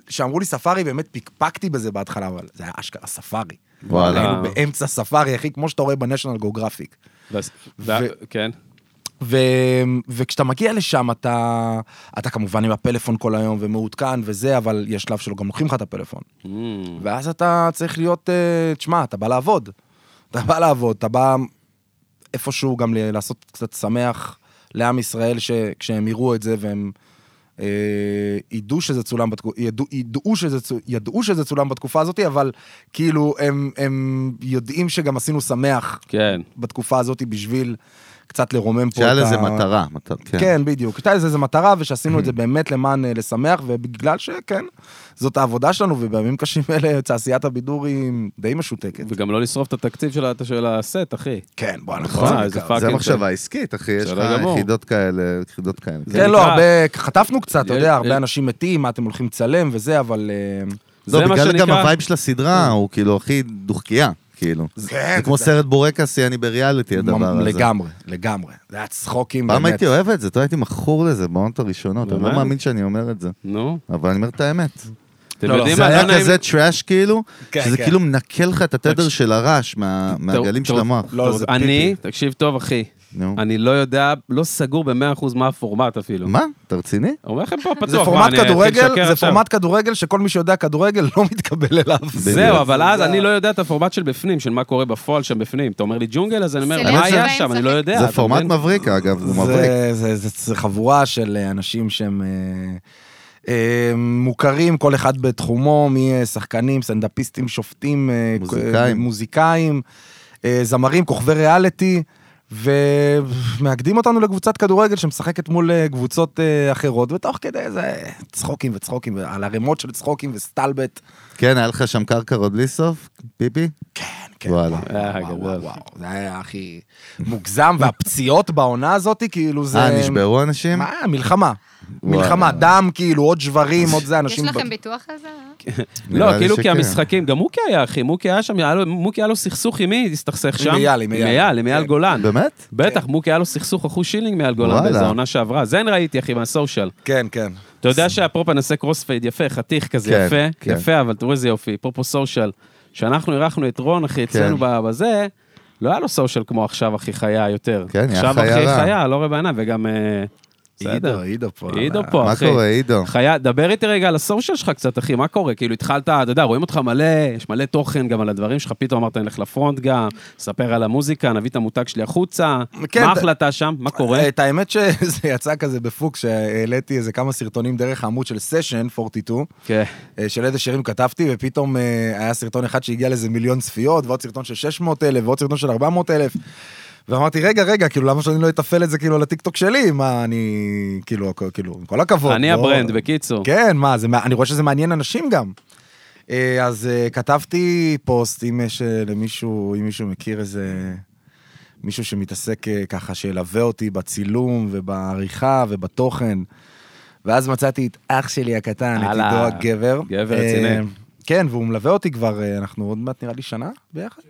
[SPEAKER 3] כשאמרו לי ספארי, באמת פקפקתי בזה בהתחלה, אבל זה היה אשכרה ספארי.
[SPEAKER 1] וואלה.
[SPEAKER 3] היינו באמצע ספארי, אחי, כמו שאתה רואה בניישנל גיאוגרפיק.
[SPEAKER 2] ואז-
[SPEAKER 3] ו-
[SPEAKER 2] ו- כן.
[SPEAKER 3] ו... וכשאתה מגיע לשם, אתה... אתה כמובן עם הפלאפון כל היום ומעודכן וזה, אבל יש שלב שלא גם לוקחים לך את הפלאפון.
[SPEAKER 2] Mm.
[SPEAKER 3] ואז אתה צריך להיות, אה, תשמע, אתה בא לעבוד. אתה בא לעבוד, אתה בא איפשהו גם ל- לעשות קצת שמח לעם ישראל, שכשהם יראו את זה והם אה, ידעו שזה צולם בתקופה, ידעו, ידעו, שזה צו- ידעו שזה צולם בתקופה הזאת, אבל כאילו הם, הם יודעים שגם עשינו שמח
[SPEAKER 2] כן.
[SPEAKER 3] בתקופה הזאת בשביל קצת לרומם פה את ה...
[SPEAKER 1] שהיה לזה מטרה, מטרה, כן.
[SPEAKER 3] כן, בדיוק. הייתה לזה איזו מטרה, ושעשינו
[SPEAKER 2] Mm-hmm.
[SPEAKER 3] את זה באמת למען אה, לשמח, ובגלל שכן, זאת העבודה שלנו, ובימים קשים אלה תעשיית הבידור היא די משותקת.
[SPEAKER 2] וגם לא לשרוף את התקציב של ה- של הסט, אחי.
[SPEAKER 3] כן, בוא,
[SPEAKER 2] נכון,
[SPEAKER 3] נכון.
[SPEAKER 2] איזה
[SPEAKER 3] זה-
[SPEAKER 1] זה
[SPEAKER 2] פאקינג-
[SPEAKER 1] מחשבה עסקית, אחי, יש לך
[SPEAKER 2] בסדר גמור.
[SPEAKER 1] יחידות כאלה, יחידות כאלה.
[SPEAKER 3] כן, לא,
[SPEAKER 2] נקרא-
[SPEAKER 3] הרבה, חטפנו קצת, אתה
[SPEAKER 2] יש-
[SPEAKER 3] יודע,
[SPEAKER 2] יש-
[SPEAKER 3] הרבה אנשים מתים, מה אתם הולכים לצלם וזה, אבל... אה,
[SPEAKER 2] זה
[SPEAKER 1] לא,
[SPEAKER 2] מה
[SPEAKER 1] בגלל גם
[SPEAKER 2] שנקרא-
[SPEAKER 1] הווייב של הסדרה הוא כאילו הכי דוחקייה, כאילו.
[SPEAKER 3] כן,
[SPEAKER 1] זה כמו
[SPEAKER 3] זה-
[SPEAKER 1] סרט בורקסי, אני בריאליטי, הדבר הזה.
[SPEAKER 3] לגמרי, לגמרי. זה היה צחוקים,
[SPEAKER 1] פעם
[SPEAKER 3] באמת.
[SPEAKER 1] הייתי אוהב את זה, אתה יודע, הייתי מכור לזה בעונות הראשונות, אני לא
[SPEAKER 2] באמת?
[SPEAKER 1] מאמין שאני אומר את זה,
[SPEAKER 2] נו,
[SPEAKER 1] אבל אני אומר את האמת.
[SPEAKER 2] אתם
[SPEAKER 3] לא, לא,
[SPEAKER 2] יודעים
[SPEAKER 1] זה
[SPEAKER 2] מה, לא
[SPEAKER 1] היה
[SPEAKER 2] נעים-
[SPEAKER 1] כזה טראש כאילו,
[SPEAKER 3] כן,
[SPEAKER 1] שזה
[SPEAKER 3] כן.
[SPEAKER 1] כאילו מנקה לך את התדר
[SPEAKER 2] תקשיב.
[SPEAKER 1] של הרעש מה- מהגלים של
[SPEAKER 2] טוב.
[SPEAKER 1] המוח.
[SPEAKER 3] לא, זה
[SPEAKER 2] אני,
[SPEAKER 3] פיפי.
[SPEAKER 2] תקשיב טוב, אחי,
[SPEAKER 1] נו.
[SPEAKER 2] אני לא יודע, לא סגור ב-100% מה הפורמט אפילו.
[SPEAKER 1] מה? אתה רציני?
[SPEAKER 2] אומר לכם פה פתוח,
[SPEAKER 3] זה
[SPEAKER 2] מה,
[SPEAKER 3] פורמט
[SPEAKER 2] אני אתחיל לשקר
[SPEAKER 3] כדורגל, זה
[SPEAKER 2] עכשיו?
[SPEAKER 3] פורמט כדורגל שכל מי שיודע כדורגל לא מתקבל אליו.
[SPEAKER 2] זהו, אבל אז אני לא יודע את הפורמט של בפנים, של מה קורה בפועל שם בפנים. אתה אומר לי ג'ונגל, אז אני אומר,
[SPEAKER 6] סלקציה
[SPEAKER 2] מה היה
[SPEAKER 6] באמצע.
[SPEAKER 2] שם? אני לא יודע.
[SPEAKER 1] זה
[SPEAKER 2] אתה
[SPEAKER 1] פורמט
[SPEAKER 2] מבין?
[SPEAKER 1] מבריק אגב, הוא מבריק.
[SPEAKER 3] זה, זה, זה, זה חבורה של אה, אנשים שהם אה, אה, מוכרים, כל אחד בתחומו, משחקנים, סטנדאפיסטים, שופטים, אה,
[SPEAKER 1] מוזיקאים.
[SPEAKER 3] אה, מוזיקאים אה, זמרים, כוכבי ריאליטי, ומאגדים אותנו לקבוצת כדורגל שמשחקת מול אה, קבוצות אה, אחרות, ותוך כדי זה צחוקים וצחוקים, על ערימות של צחוקים וסטלבט.
[SPEAKER 1] כן, היה לך שם קרקר עוד בלי סוף? פיפי?
[SPEAKER 3] כן, כן.
[SPEAKER 1] וואלה.
[SPEAKER 2] אה,
[SPEAKER 3] וואו,
[SPEAKER 2] גדול.
[SPEAKER 3] וואו, וואו, זה היה הכי מוגזם, והפציעות בעונה הזאת, כאילו זה...
[SPEAKER 1] אה, נשברו אנשים?
[SPEAKER 3] מה, מלחמה.
[SPEAKER 1] וואלה.
[SPEAKER 3] מלחמה, דם, כאילו, עוד שברים, עוד זה,
[SPEAKER 6] יש
[SPEAKER 3] אנשים...
[SPEAKER 6] לכם
[SPEAKER 3] ב-
[SPEAKER 6] ביטוח על זה? לא?
[SPEAKER 1] כן,
[SPEAKER 2] לא,
[SPEAKER 1] נראה לי
[SPEAKER 2] כאילו
[SPEAKER 1] שכן.
[SPEAKER 2] כי המשחקים, גם מוקי היה, אחי, מוקי היה שם, היה לו- מוקי היה לו סכסוך עם מי, הסתכסך שם?
[SPEAKER 3] אייל, עם אייל.
[SPEAKER 2] עם אייל, עם אייל
[SPEAKER 3] כן.
[SPEAKER 2] גולן.
[SPEAKER 1] באמת?
[SPEAKER 2] בטח, מוקי היה לו סכסוך אחוז שילינג מעל גולן
[SPEAKER 1] וואלה.
[SPEAKER 2] באיזה עונה שעברה. זה אני ראיתי, אחי, מהסושיאל.
[SPEAKER 3] כן, כן.
[SPEAKER 2] אתה יודע שאפרופו נעשה קרוספייד יפה, חתיך כזה
[SPEAKER 1] כן,
[SPEAKER 2] יפה,
[SPEAKER 1] כן.
[SPEAKER 2] יפה, אבל תראו איזה יופי, אפרופו סושיאל. כשאנחנו אירחנו את רון, אחי, אצלנו
[SPEAKER 1] כן.
[SPEAKER 2] ב- בזה, לא היה לו סושיאל כמו עכשיו, אחי, חיה יותר.
[SPEAKER 1] כן, היה
[SPEAKER 2] עכשיו,
[SPEAKER 1] חיה
[SPEAKER 2] אחי,
[SPEAKER 1] רע.
[SPEAKER 2] חיה, לא רואה בעיניים, וגם... אה, בסדר.
[SPEAKER 3] עידו פה.
[SPEAKER 2] עידו
[SPEAKER 3] אה,
[SPEAKER 2] פה,
[SPEAKER 1] מה
[SPEAKER 2] לא, אחי.
[SPEAKER 1] קורה, עידו?
[SPEAKER 2] חיה, דבר איתי רגע על הסושיאל שלך קצת, אחי, מה קורה? כאילו, התחלת, אתה יודע, רואים אותך מלא, יש מלא תוכן גם על הדברים שלך, פתאום אמרת, נלך לפרונט גם, ספר על המוזיקה, נביא את המותג שלי החוצה.
[SPEAKER 3] כן,
[SPEAKER 2] מה
[SPEAKER 3] אתה-
[SPEAKER 2] ההחלטה שם? מה קורה?
[SPEAKER 3] אה,
[SPEAKER 1] אה,
[SPEAKER 3] את האמת שזה יצא כזה בפוקס, שהעליתי איזה כמה סרטונים דרך העמוד של סשן 42,
[SPEAKER 2] כן.
[SPEAKER 3] אה, של איזה שירים כתבתי, ופתאום אה, היה סרטון אחד שהגיע לאיזה מיליון צפיות, ועוד סרטון של 600 אלף, ועוד סרטון של 400 אלף. ואמרתי, רגע, רגע, כאילו, למה שאני לא אתפעל את זה כאילו על הטיקטוק שלי? מה, אני, כאילו, כאילו, עם כל הכבוד.
[SPEAKER 2] אני
[SPEAKER 3] לא-
[SPEAKER 2] הברנד, בקיצור.
[SPEAKER 3] כן, מה, זה, מע- אני רואה שזה מעניין אנשים גם. אה, אז אה, כתבתי פוסט, אם יש אה, למישהו, אם מישהו מכיר איזה... מישהו שמתעסק אה, ככה, שילווה אותי בצילום ובעריכה ובתוכן. ואז מצאתי את אח שלי הקטן, את
[SPEAKER 2] הלאה.
[SPEAKER 3] עידו הגבר.
[SPEAKER 2] גבר רציני.
[SPEAKER 3] אה, כן, והוא מלווה אותי כבר, אה, אנחנו עוד מעט נראה לי שנה ביחד.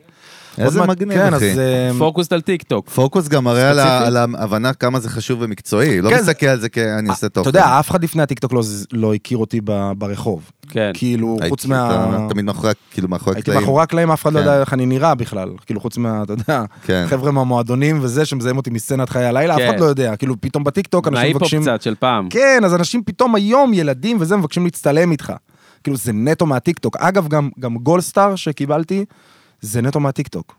[SPEAKER 1] איזה
[SPEAKER 3] עוד מעט-
[SPEAKER 1] מגניב,
[SPEAKER 3] כן,
[SPEAKER 1] אחי.
[SPEAKER 3] אז, אה,
[SPEAKER 2] פוקוסט על טיקטוק.
[SPEAKER 1] פוקוס גם מראה על ה-
[SPEAKER 3] ספציפית.
[SPEAKER 1] על ההבנה כמה זה חשוב ומקצועי, לא
[SPEAKER 3] כן,
[SPEAKER 1] מסתכל על זה כאני עושה תוכן.
[SPEAKER 3] אתה יודע, אה, אף אחד לפני הטיקטוק לא ז- לא הכיר אותי ב- ברחוב.
[SPEAKER 2] כן.
[SPEAKER 3] כאילו,
[SPEAKER 1] הייתי-
[SPEAKER 3] חוץ מה...
[SPEAKER 1] אתה תמיד מאחורי, ה- כאילו, מאחורי
[SPEAKER 3] הייתי
[SPEAKER 1] הקלעים.
[SPEAKER 3] מאחורי הקלעים, אף אחד לא
[SPEAKER 1] כן.
[SPEAKER 3] יודע איך אני נראה בכלל. כאילו, חוץ מה, אתה יודע,
[SPEAKER 1] כן.
[SPEAKER 3] חבר'ה מהמועדונים וזה, שמזהים אותי מסצנת חיי הלילה, אף
[SPEAKER 2] כן.
[SPEAKER 3] אחד לא יודע. כאילו, פתאום בטיקטוק אנשים
[SPEAKER 2] מההיפ-הופ
[SPEAKER 3] מבקשים...
[SPEAKER 2] קצת של פעם.
[SPEAKER 3] כן, אז אנשים פתאום היום, ילדים וזה, מבקשים להצטלם איתך. כאילו, זה נטו מהטיקטוק. אגב, גם, גם גולדסטאר שקיבלתי, זה נטו מהטיקטוק.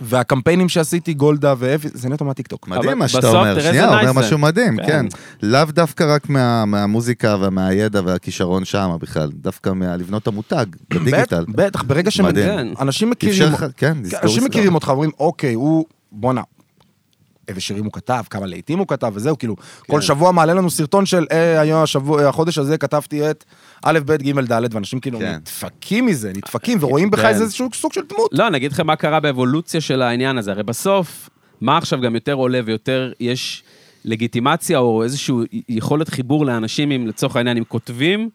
[SPEAKER 3] והקמפיינים שעשיתי, גולדה ואפי, זה נטו מהטיקטוק.
[SPEAKER 1] מדהים
[SPEAKER 2] אבל
[SPEAKER 1] מה שאתה
[SPEAKER 2] בסוף,
[SPEAKER 1] אומר,
[SPEAKER 2] תראה
[SPEAKER 1] שנייה,
[SPEAKER 2] איזה
[SPEAKER 1] אומר
[SPEAKER 2] nice זה.
[SPEAKER 1] משהו מדהים,
[SPEAKER 2] כן.
[SPEAKER 1] כן. לאו דווקא רק מה- מהמוזיקה ומהידע והכישרון שם בכלל, דווקא מלבנות את המותג, בדיגיטל.
[SPEAKER 3] בט- בטח, ברגע
[SPEAKER 2] כן.
[SPEAKER 1] מדהים.
[SPEAKER 3] שאנשים מכירים...
[SPEAKER 1] אפשר לך- כן,
[SPEAKER 3] כי
[SPEAKER 1] תזכרו
[SPEAKER 3] אנשים
[SPEAKER 1] סתם.
[SPEAKER 3] מכירים אותך, אומרים, אוקיי, הוא, בואנה, איזה שירים הוא כתב, כמה לעיתים הוא כתב, וזהו, כאילו,
[SPEAKER 1] כן.
[SPEAKER 3] כל שבוע מעלה לנו סרטון של, אה, היום, השבוע, אה, החודש הזה כתבתי את א', ב', ג', ד', ואנשים כאילו
[SPEAKER 1] כן.
[SPEAKER 3] נדפקים מזה, נדפקים, ורואים בך
[SPEAKER 2] כן.
[SPEAKER 3] איזשהו סוג של דמות.
[SPEAKER 2] לא, אני אגיד לכם מה קרה באבולוציה של העניין הזה. הרי בסוף, מה עכשיו גם יותר עולה ויותר יש לגיטימציה או איזושהי יכולת חיבור לאנשים עם, לצורך העניין, עם כותבים,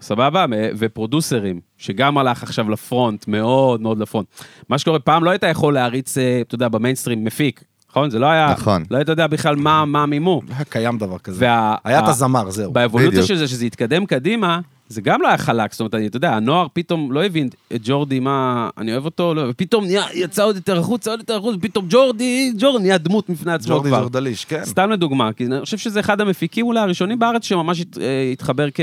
[SPEAKER 2] סבבה? מ- ופרודוסרים, שגם הלך עכשיו לפרונט, מאוד מאוד לפרונט. מה שקורה, פעם לא היית יכול להריץ, אה, אתה יודע, במיינסטרים מפיק, נכון? זה לא היה...
[SPEAKER 1] נכון.
[SPEAKER 2] לא היית יודע בכלל מה, מה מימו.
[SPEAKER 3] לא היה קיים דבר כזה.
[SPEAKER 2] וה-
[SPEAKER 3] היה את
[SPEAKER 2] ה-
[SPEAKER 3] הזמר, זהו.
[SPEAKER 2] באבולוציה
[SPEAKER 1] בדיוק.
[SPEAKER 2] של זה, שזה התקדם קדימה, זה גם לא היה חלק, זאת אומרת, אני- אתה יודע, הנוער פתאום לא הבין את ג'ורדי, מה, אני אוהב אותו, לא, ופתאום נהיה, יצא עוד יותר החוצה, עוד יותר החוצה, ופתאום ג'ורדי, ג'ורדי נהיה דמות מפני עצמו
[SPEAKER 3] ג'ורדי
[SPEAKER 2] כבר.
[SPEAKER 3] ג'ורדליש, כן.
[SPEAKER 2] סתם לדוגמה, כי אני חושב שזה אחד המפיקים אולי הראשונים בארץ שממש הת- אה, התחבר כ...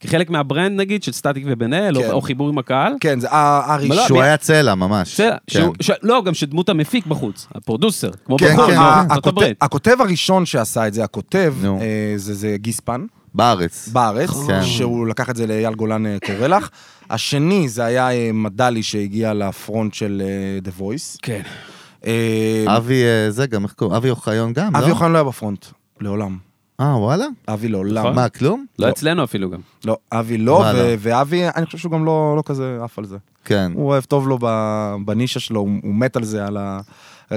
[SPEAKER 2] כחלק מהברנד נגיד, של סטטיק ובן אל, או-
[SPEAKER 3] כן.
[SPEAKER 2] או חיבור עם הקהל.
[SPEAKER 3] כן, זה ה-
[SPEAKER 2] לא,
[SPEAKER 3] הראשון.
[SPEAKER 1] שהוא
[SPEAKER 2] ב-
[SPEAKER 1] היה צלע ממש.
[SPEAKER 2] בסדר,
[SPEAKER 1] כן.
[SPEAKER 2] שהוא- ש- לא, גם שדמות המפיק בחוץ, הפרודוסר, כמו
[SPEAKER 1] כן,
[SPEAKER 2] בחוץ,
[SPEAKER 1] כן.
[SPEAKER 3] ה-
[SPEAKER 2] לא, בארצות
[SPEAKER 3] הכותב-
[SPEAKER 2] הברית.
[SPEAKER 3] הכותב הראשון שעשה את זה, הכותב,
[SPEAKER 1] נו.
[SPEAKER 3] אה, זה זה גיספן.
[SPEAKER 1] בארץ.
[SPEAKER 3] בארץ,
[SPEAKER 1] כן.
[SPEAKER 3] שהוא לקח את זה לאייל גולן אה, קורא לך. השני זה היה אה, מדלי שהגיע לפרונט של אה, The Voice.
[SPEAKER 2] כן.
[SPEAKER 3] אה,
[SPEAKER 1] אבי אה, זה גם, איך קוראים? אבי אוחיון גם, לא?
[SPEAKER 3] אבי אוחיון לא היה בפרונט, לעולם.
[SPEAKER 1] אה, וואלה?
[SPEAKER 3] אבי לעולם.
[SPEAKER 1] מה, כלום?
[SPEAKER 2] לא אצלנו אפילו גם.
[SPEAKER 3] לא, אבי לא,
[SPEAKER 1] וואלה.
[SPEAKER 3] ו- ואבי, אני חושב שהוא גם לא לא כזה עף על זה.
[SPEAKER 1] כן.
[SPEAKER 3] הוא אוהב טוב לו ב- בנישה שלו, הוא הוא מת על זה, על ה...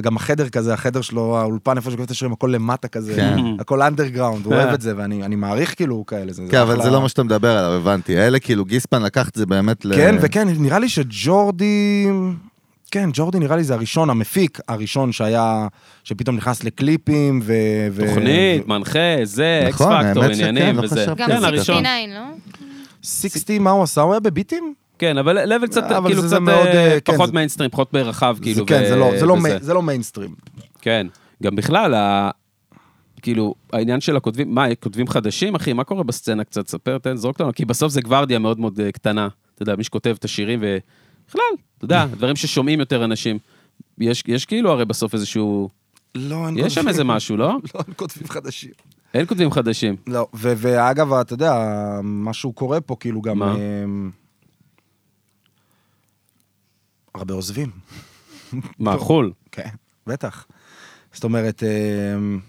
[SPEAKER 3] גם החדר כזה, החדר שלו, האולפן, איפה שכותב את השירים, הכל למטה כזה,
[SPEAKER 1] כן.
[SPEAKER 3] הכל אנדרגראונד, הוא
[SPEAKER 2] אה.
[SPEAKER 3] אוהב את זה, ואני אני מעריך כאילו כאלה.
[SPEAKER 1] כן, אבל
[SPEAKER 3] אחלה-
[SPEAKER 1] זה לא מה שאתה מדבר עליו, הבנתי. אלה כאילו, גיספן לקח את זה באמת
[SPEAKER 2] אה,
[SPEAKER 1] ל...
[SPEAKER 3] כן, וכן, נראה לי שג'ורדי... כן, ג'ורדי נראה לי זה הראשון, המפיק הראשון שהיה, שפתאום נכנס לקליפים ו... ו- אה,
[SPEAKER 2] תוכנית, מנחה, זה, אקס
[SPEAKER 1] נכון,
[SPEAKER 2] פקטור,
[SPEAKER 1] האמת שכן,
[SPEAKER 2] עניינים
[SPEAKER 1] לא
[SPEAKER 2] וזה.
[SPEAKER 1] חשבתי
[SPEAKER 6] גם
[SPEAKER 1] כן, על זה
[SPEAKER 2] הראשון.
[SPEAKER 6] 69, לא?
[SPEAKER 3] 60, מה הוא עשה? הוא היה בביטים?
[SPEAKER 2] כן, אבל לבל קצת,
[SPEAKER 3] אבל
[SPEAKER 2] כאילו
[SPEAKER 3] זה-
[SPEAKER 2] קצת
[SPEAKER 3] זה מאוד,
[SPEAKER 2] אה,
[SPEAKER 3] אה, כן,
[SPEAKER 2] פחות
[SPEAKER 3] זה-
[SPEAKER 2] מיינסטרים, פחות ברחב, כאילו.
[SPEAKER 3] זה- כן,
[SPEAKER 2] ו-
[SPEAKER 3] זה לא- זה לא
[SPEAKER 2] וזה.
[SPEAKER 3] מיי- זה לא מיינסטרים.
[SPEAKER 2] כן, גם בכלל, ה- כאילו, העניין של הכותבים, מה, כותבים חדשים, אחי, מה קורה בסצנה קצת? ספר, תן, זרוק לנו, כי בסוף זה גוורדיה מאוד מאוד אה, קטנה. אתה יודע, מי שכותב את השירים, ובכלל, אתה יודע, דברים ששומעים יותר אנשים. יש, יש כאילו הרי בסוף איזשהו...
[SPEAKER 3] לא, אין
[SPEAKER 2] יש שם איזה משהו, לא?
[SPEAKER 3] לא, אין כותבים חדשים.
[SPEAKER 2] אין כותבים חדשים.
[SPEAKER 3] לא, ו- ואגב, אתה יודע, משהו קורה פה, כאילו גם...
[SPEAKER 2] מה?
[SPEAKER 3] אמ, הרבה עוזבים.
[SPEAKER 2] מה, חו"ל?
[SPEAKER 3] כן. בטח. זאת אומרת, אמ,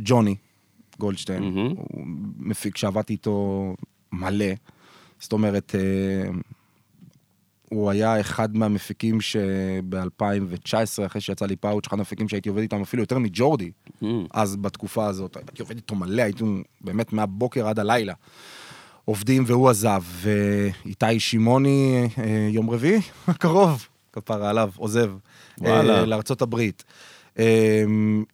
[SPEAKER 3] ג'וני גולדשטיין,
[SPEAKER 2] מהמם.
[SPEAKER 3] הוא מפיק שעבדתי איתו מלא. זאת אומרת, אמ, הוא היה אחד מהמפיקים שב-2019, אחרי שיצא לי פאוץ', אחד המפיקים שהייתי עובד איתם אפילו יותר מג'ורדי, אז בתקופה הזאת. הייתי עובד איתו מלא, היינו באמת מהבוקר עד הלילה. עובדים והוא עזב, ואיתי שמעוני, אה, יום רביעי הקרוב, כפרה עליו, עוזב.
[SPEAKER 2] וואלה.
[SPEAKER 3] אה, לארצות הברית. אה,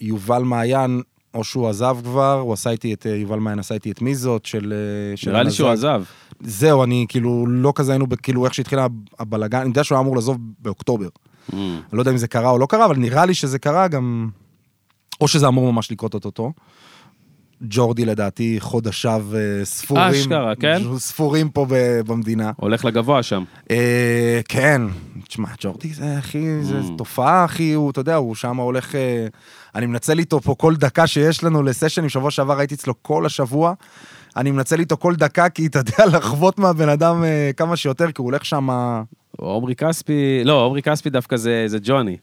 [SPEAKER 3] יובל מעיין, או שהוא עזב כבר, הוא עשה איתי את, אה, יובל מעיין עשה איתי את מי זאת, של... אה, של
[SPEAKER 2] נראה לי
[SPEAKER 3] הנזק.
[SPEAKER 2] שהוא עזב.
[SPEAKER 3] זהו, אני כאילו, לא כזה היינו, ב- כאילו, איך שהתחיל הבלגן, אני יודע שהוא היה אמור לעזוב באוקטובר. אני לא יודע אם זה קרה או לא קרה, אבל נראה לי שזה קרה גם... או שזה אמור ממש לקרות אוטוטו. ג'ורדי לדעתי חודשיו אה, ספורים.
[SPEAKER 2] אשכרה, כן?
[SPEAKER 3] ספורים פה ב- במדינה.
[SPEAKER 2] הולך לגבוה שם.
[SPEAKER 3] אה, כן, תשמע, ג'ורדי זה הכי, זה
[SPEAKER 2] Mm.
[SPEAKER 3] תופעה הכי, הוא, אתה יודע, הוא שם הולך... אה, אני מנצל איתו פה כל דקה שיש לנו לסשנים, שבוע שעבר הייתי אצלו כל השבוע. אני מנצל איתו כל דקה, כי אתה יודע, לחוות מהבן אדם אה, כמה שיותר, כי הוא הולך שם... אה,
[SPEAKER 2] עומרי כספי, לא, עומרי כספי דווקא זה זה ג'וני.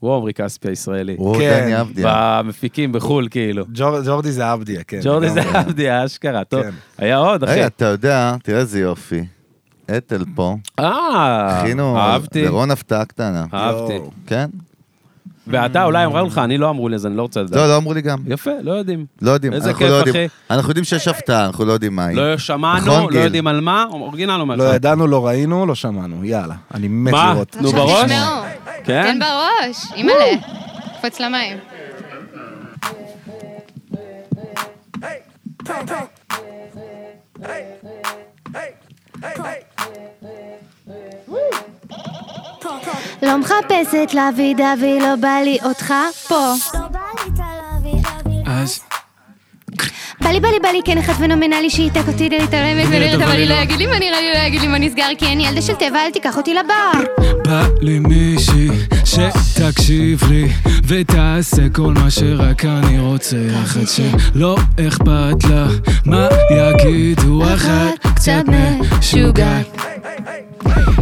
[SPEAKER 2] הוא עומרי כספי הישראלי.
[SPEAKER 1] או,
[SPEAKER 3] כן.
[SPEAKER 1] דני עבדיה.
[SPEAKER 2] במפיקים בחו"ל, כאילו.
[SPEAKER 3] ג'ור, ג'ורדי זה עבדיה, כן.
[SPEAKER 2] ג'ורדי זה
[SPEAKER 3] לגמרי.
[SPEAKER 2] עבדיה, אשכרה. טוב,
[SPEAKER 3] כן.
[SPEAKER 2] היה עוד, אחי.
[SPEAKER 1] רגע, אתה יודע, תראה איזה יופי. אתל פה,
[SPEAKER 2] אה,
[SPEAKER 1] הכינו,
[SPEAKER 2] אהבתי, אה.
[SPEAKER 1] לרון הפתעה קטנה.
[SPEAKER 2] אהבתי.
[SPEAKER 1] כן?
[SPEAKER 2] ואתה אולי אמרה לך, אני לא אמרו לי, אז אני לא רוצה לדעת.
[SPEAKER 1] לא, לא אמרו לי גם.
[SPEAKER 2] יפה, לא יודעים.
[SPEAKER 1] לא יודעים,
[SPEAKER 2] איזה
[SPEAKER 1] אנחנו
[SPEAKER 2] כיף,
[SPEAKER 1] לא יודעים.
[SPEAKER 2] אחי.
[SPEAKER 1] אנחנו יודעים שיש הפתעה, אנחנו לא יודעים מה היא.
[SPEAKER 2] לא שמענו,
[SPEAKER 1] נכון,
[SPEAKER 2] לא
[SPEAKER 1] גיל?
[SPEAKER 2] יודעים על מה, אורגינל אומר
[SPEAKER 3] לא
[SPEAKER 2] לך.
[SPEAKER 3] ידענו, לא ראינו, לא שמענו, יאללה. אני מת
[SPEAKER 2] מה?
[SPEAKER 3] לראות.
[SPEAKER 2] נו,
[SPEAKER 6] עכשיו
[SPEAKER 2] בראש?
[SPEAKER 6] תשמעו.
[SPEAKER 2] כן?
[SPEAKER 6] תן בראש, אימא'לה. קפוץ למים.
[SPEAKER 8] לא מחפשת להביא דבי, לא בא לי אותך פה.
[SPEAKER 4] אז
[SPEAKER 8] בא לי, בא לי, בא לי, כן, אחד פנומנלי שיתק אותי, דלית עולמת
[SPEAKER 4] אבל
[SPEAKER 8] ונראית, אבל
[SPEAKER 4] היא
[SPEAKER 8] היא לא
[SPEAKER 4] לא.
[SPEAKER 8] יגיד לי מה נראה לי, לא יגיד לי מה נסגר, כי אני ילדה של טבע, אל תיקח אותי לבר.
[SPEAKER 4] בא לי מישהי שתקשיב לי ותעשה כל מה שרק אני רוצה אחת שלא אכפת לה מה יגידו אחת קצת משוגעת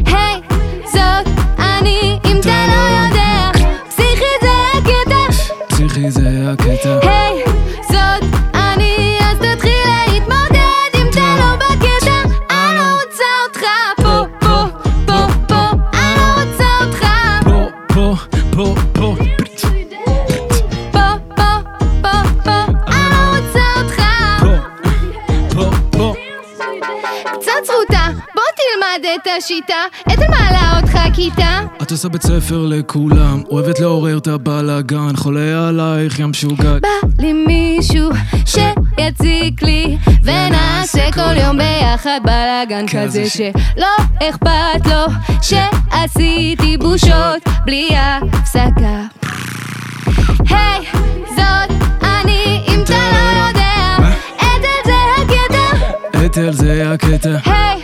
[SPEAKER 8] היי, זאת אני, אם אתה לא יודע, פסיכי זה הקטע.
[SPEAKER 4] פסיכי זה הקטע
[SPEAKER 8] היי, זאת אני, אז תתחיל להתמודד אם אתה לא בקטע. אני לא רוצה אותך פה, פה, פה, פה. אני לא רוצה אותך
[SPEAKER 4] פה פה פה פה
[SPEAKER 8] פה, פה, פה, פה. אני לא רוצה אותך.
[SPEAKER 4] פה פה פה
[SPEAKER 8] קצת זכותה, בוא תלמד את השיטה. אתן מעלה אותך כיתה.
[SPEAKER 4] את עושה בית ספר לכולם אוהבת לעורר את הבלאגן חולה עלייך ים משוגעת
[SPEAKER 8] בא לי מישהו שיציק לי ונעשה כל יום ביחד בלאגן כזה שלא אכפת לו שעשיתי בושות בלי הפסקה היי, זאת אני אם אתה לא יודע אתל זה הקטע
[SPEAKER 4] אתל זה הקטע
[SPEAKER 8] היי,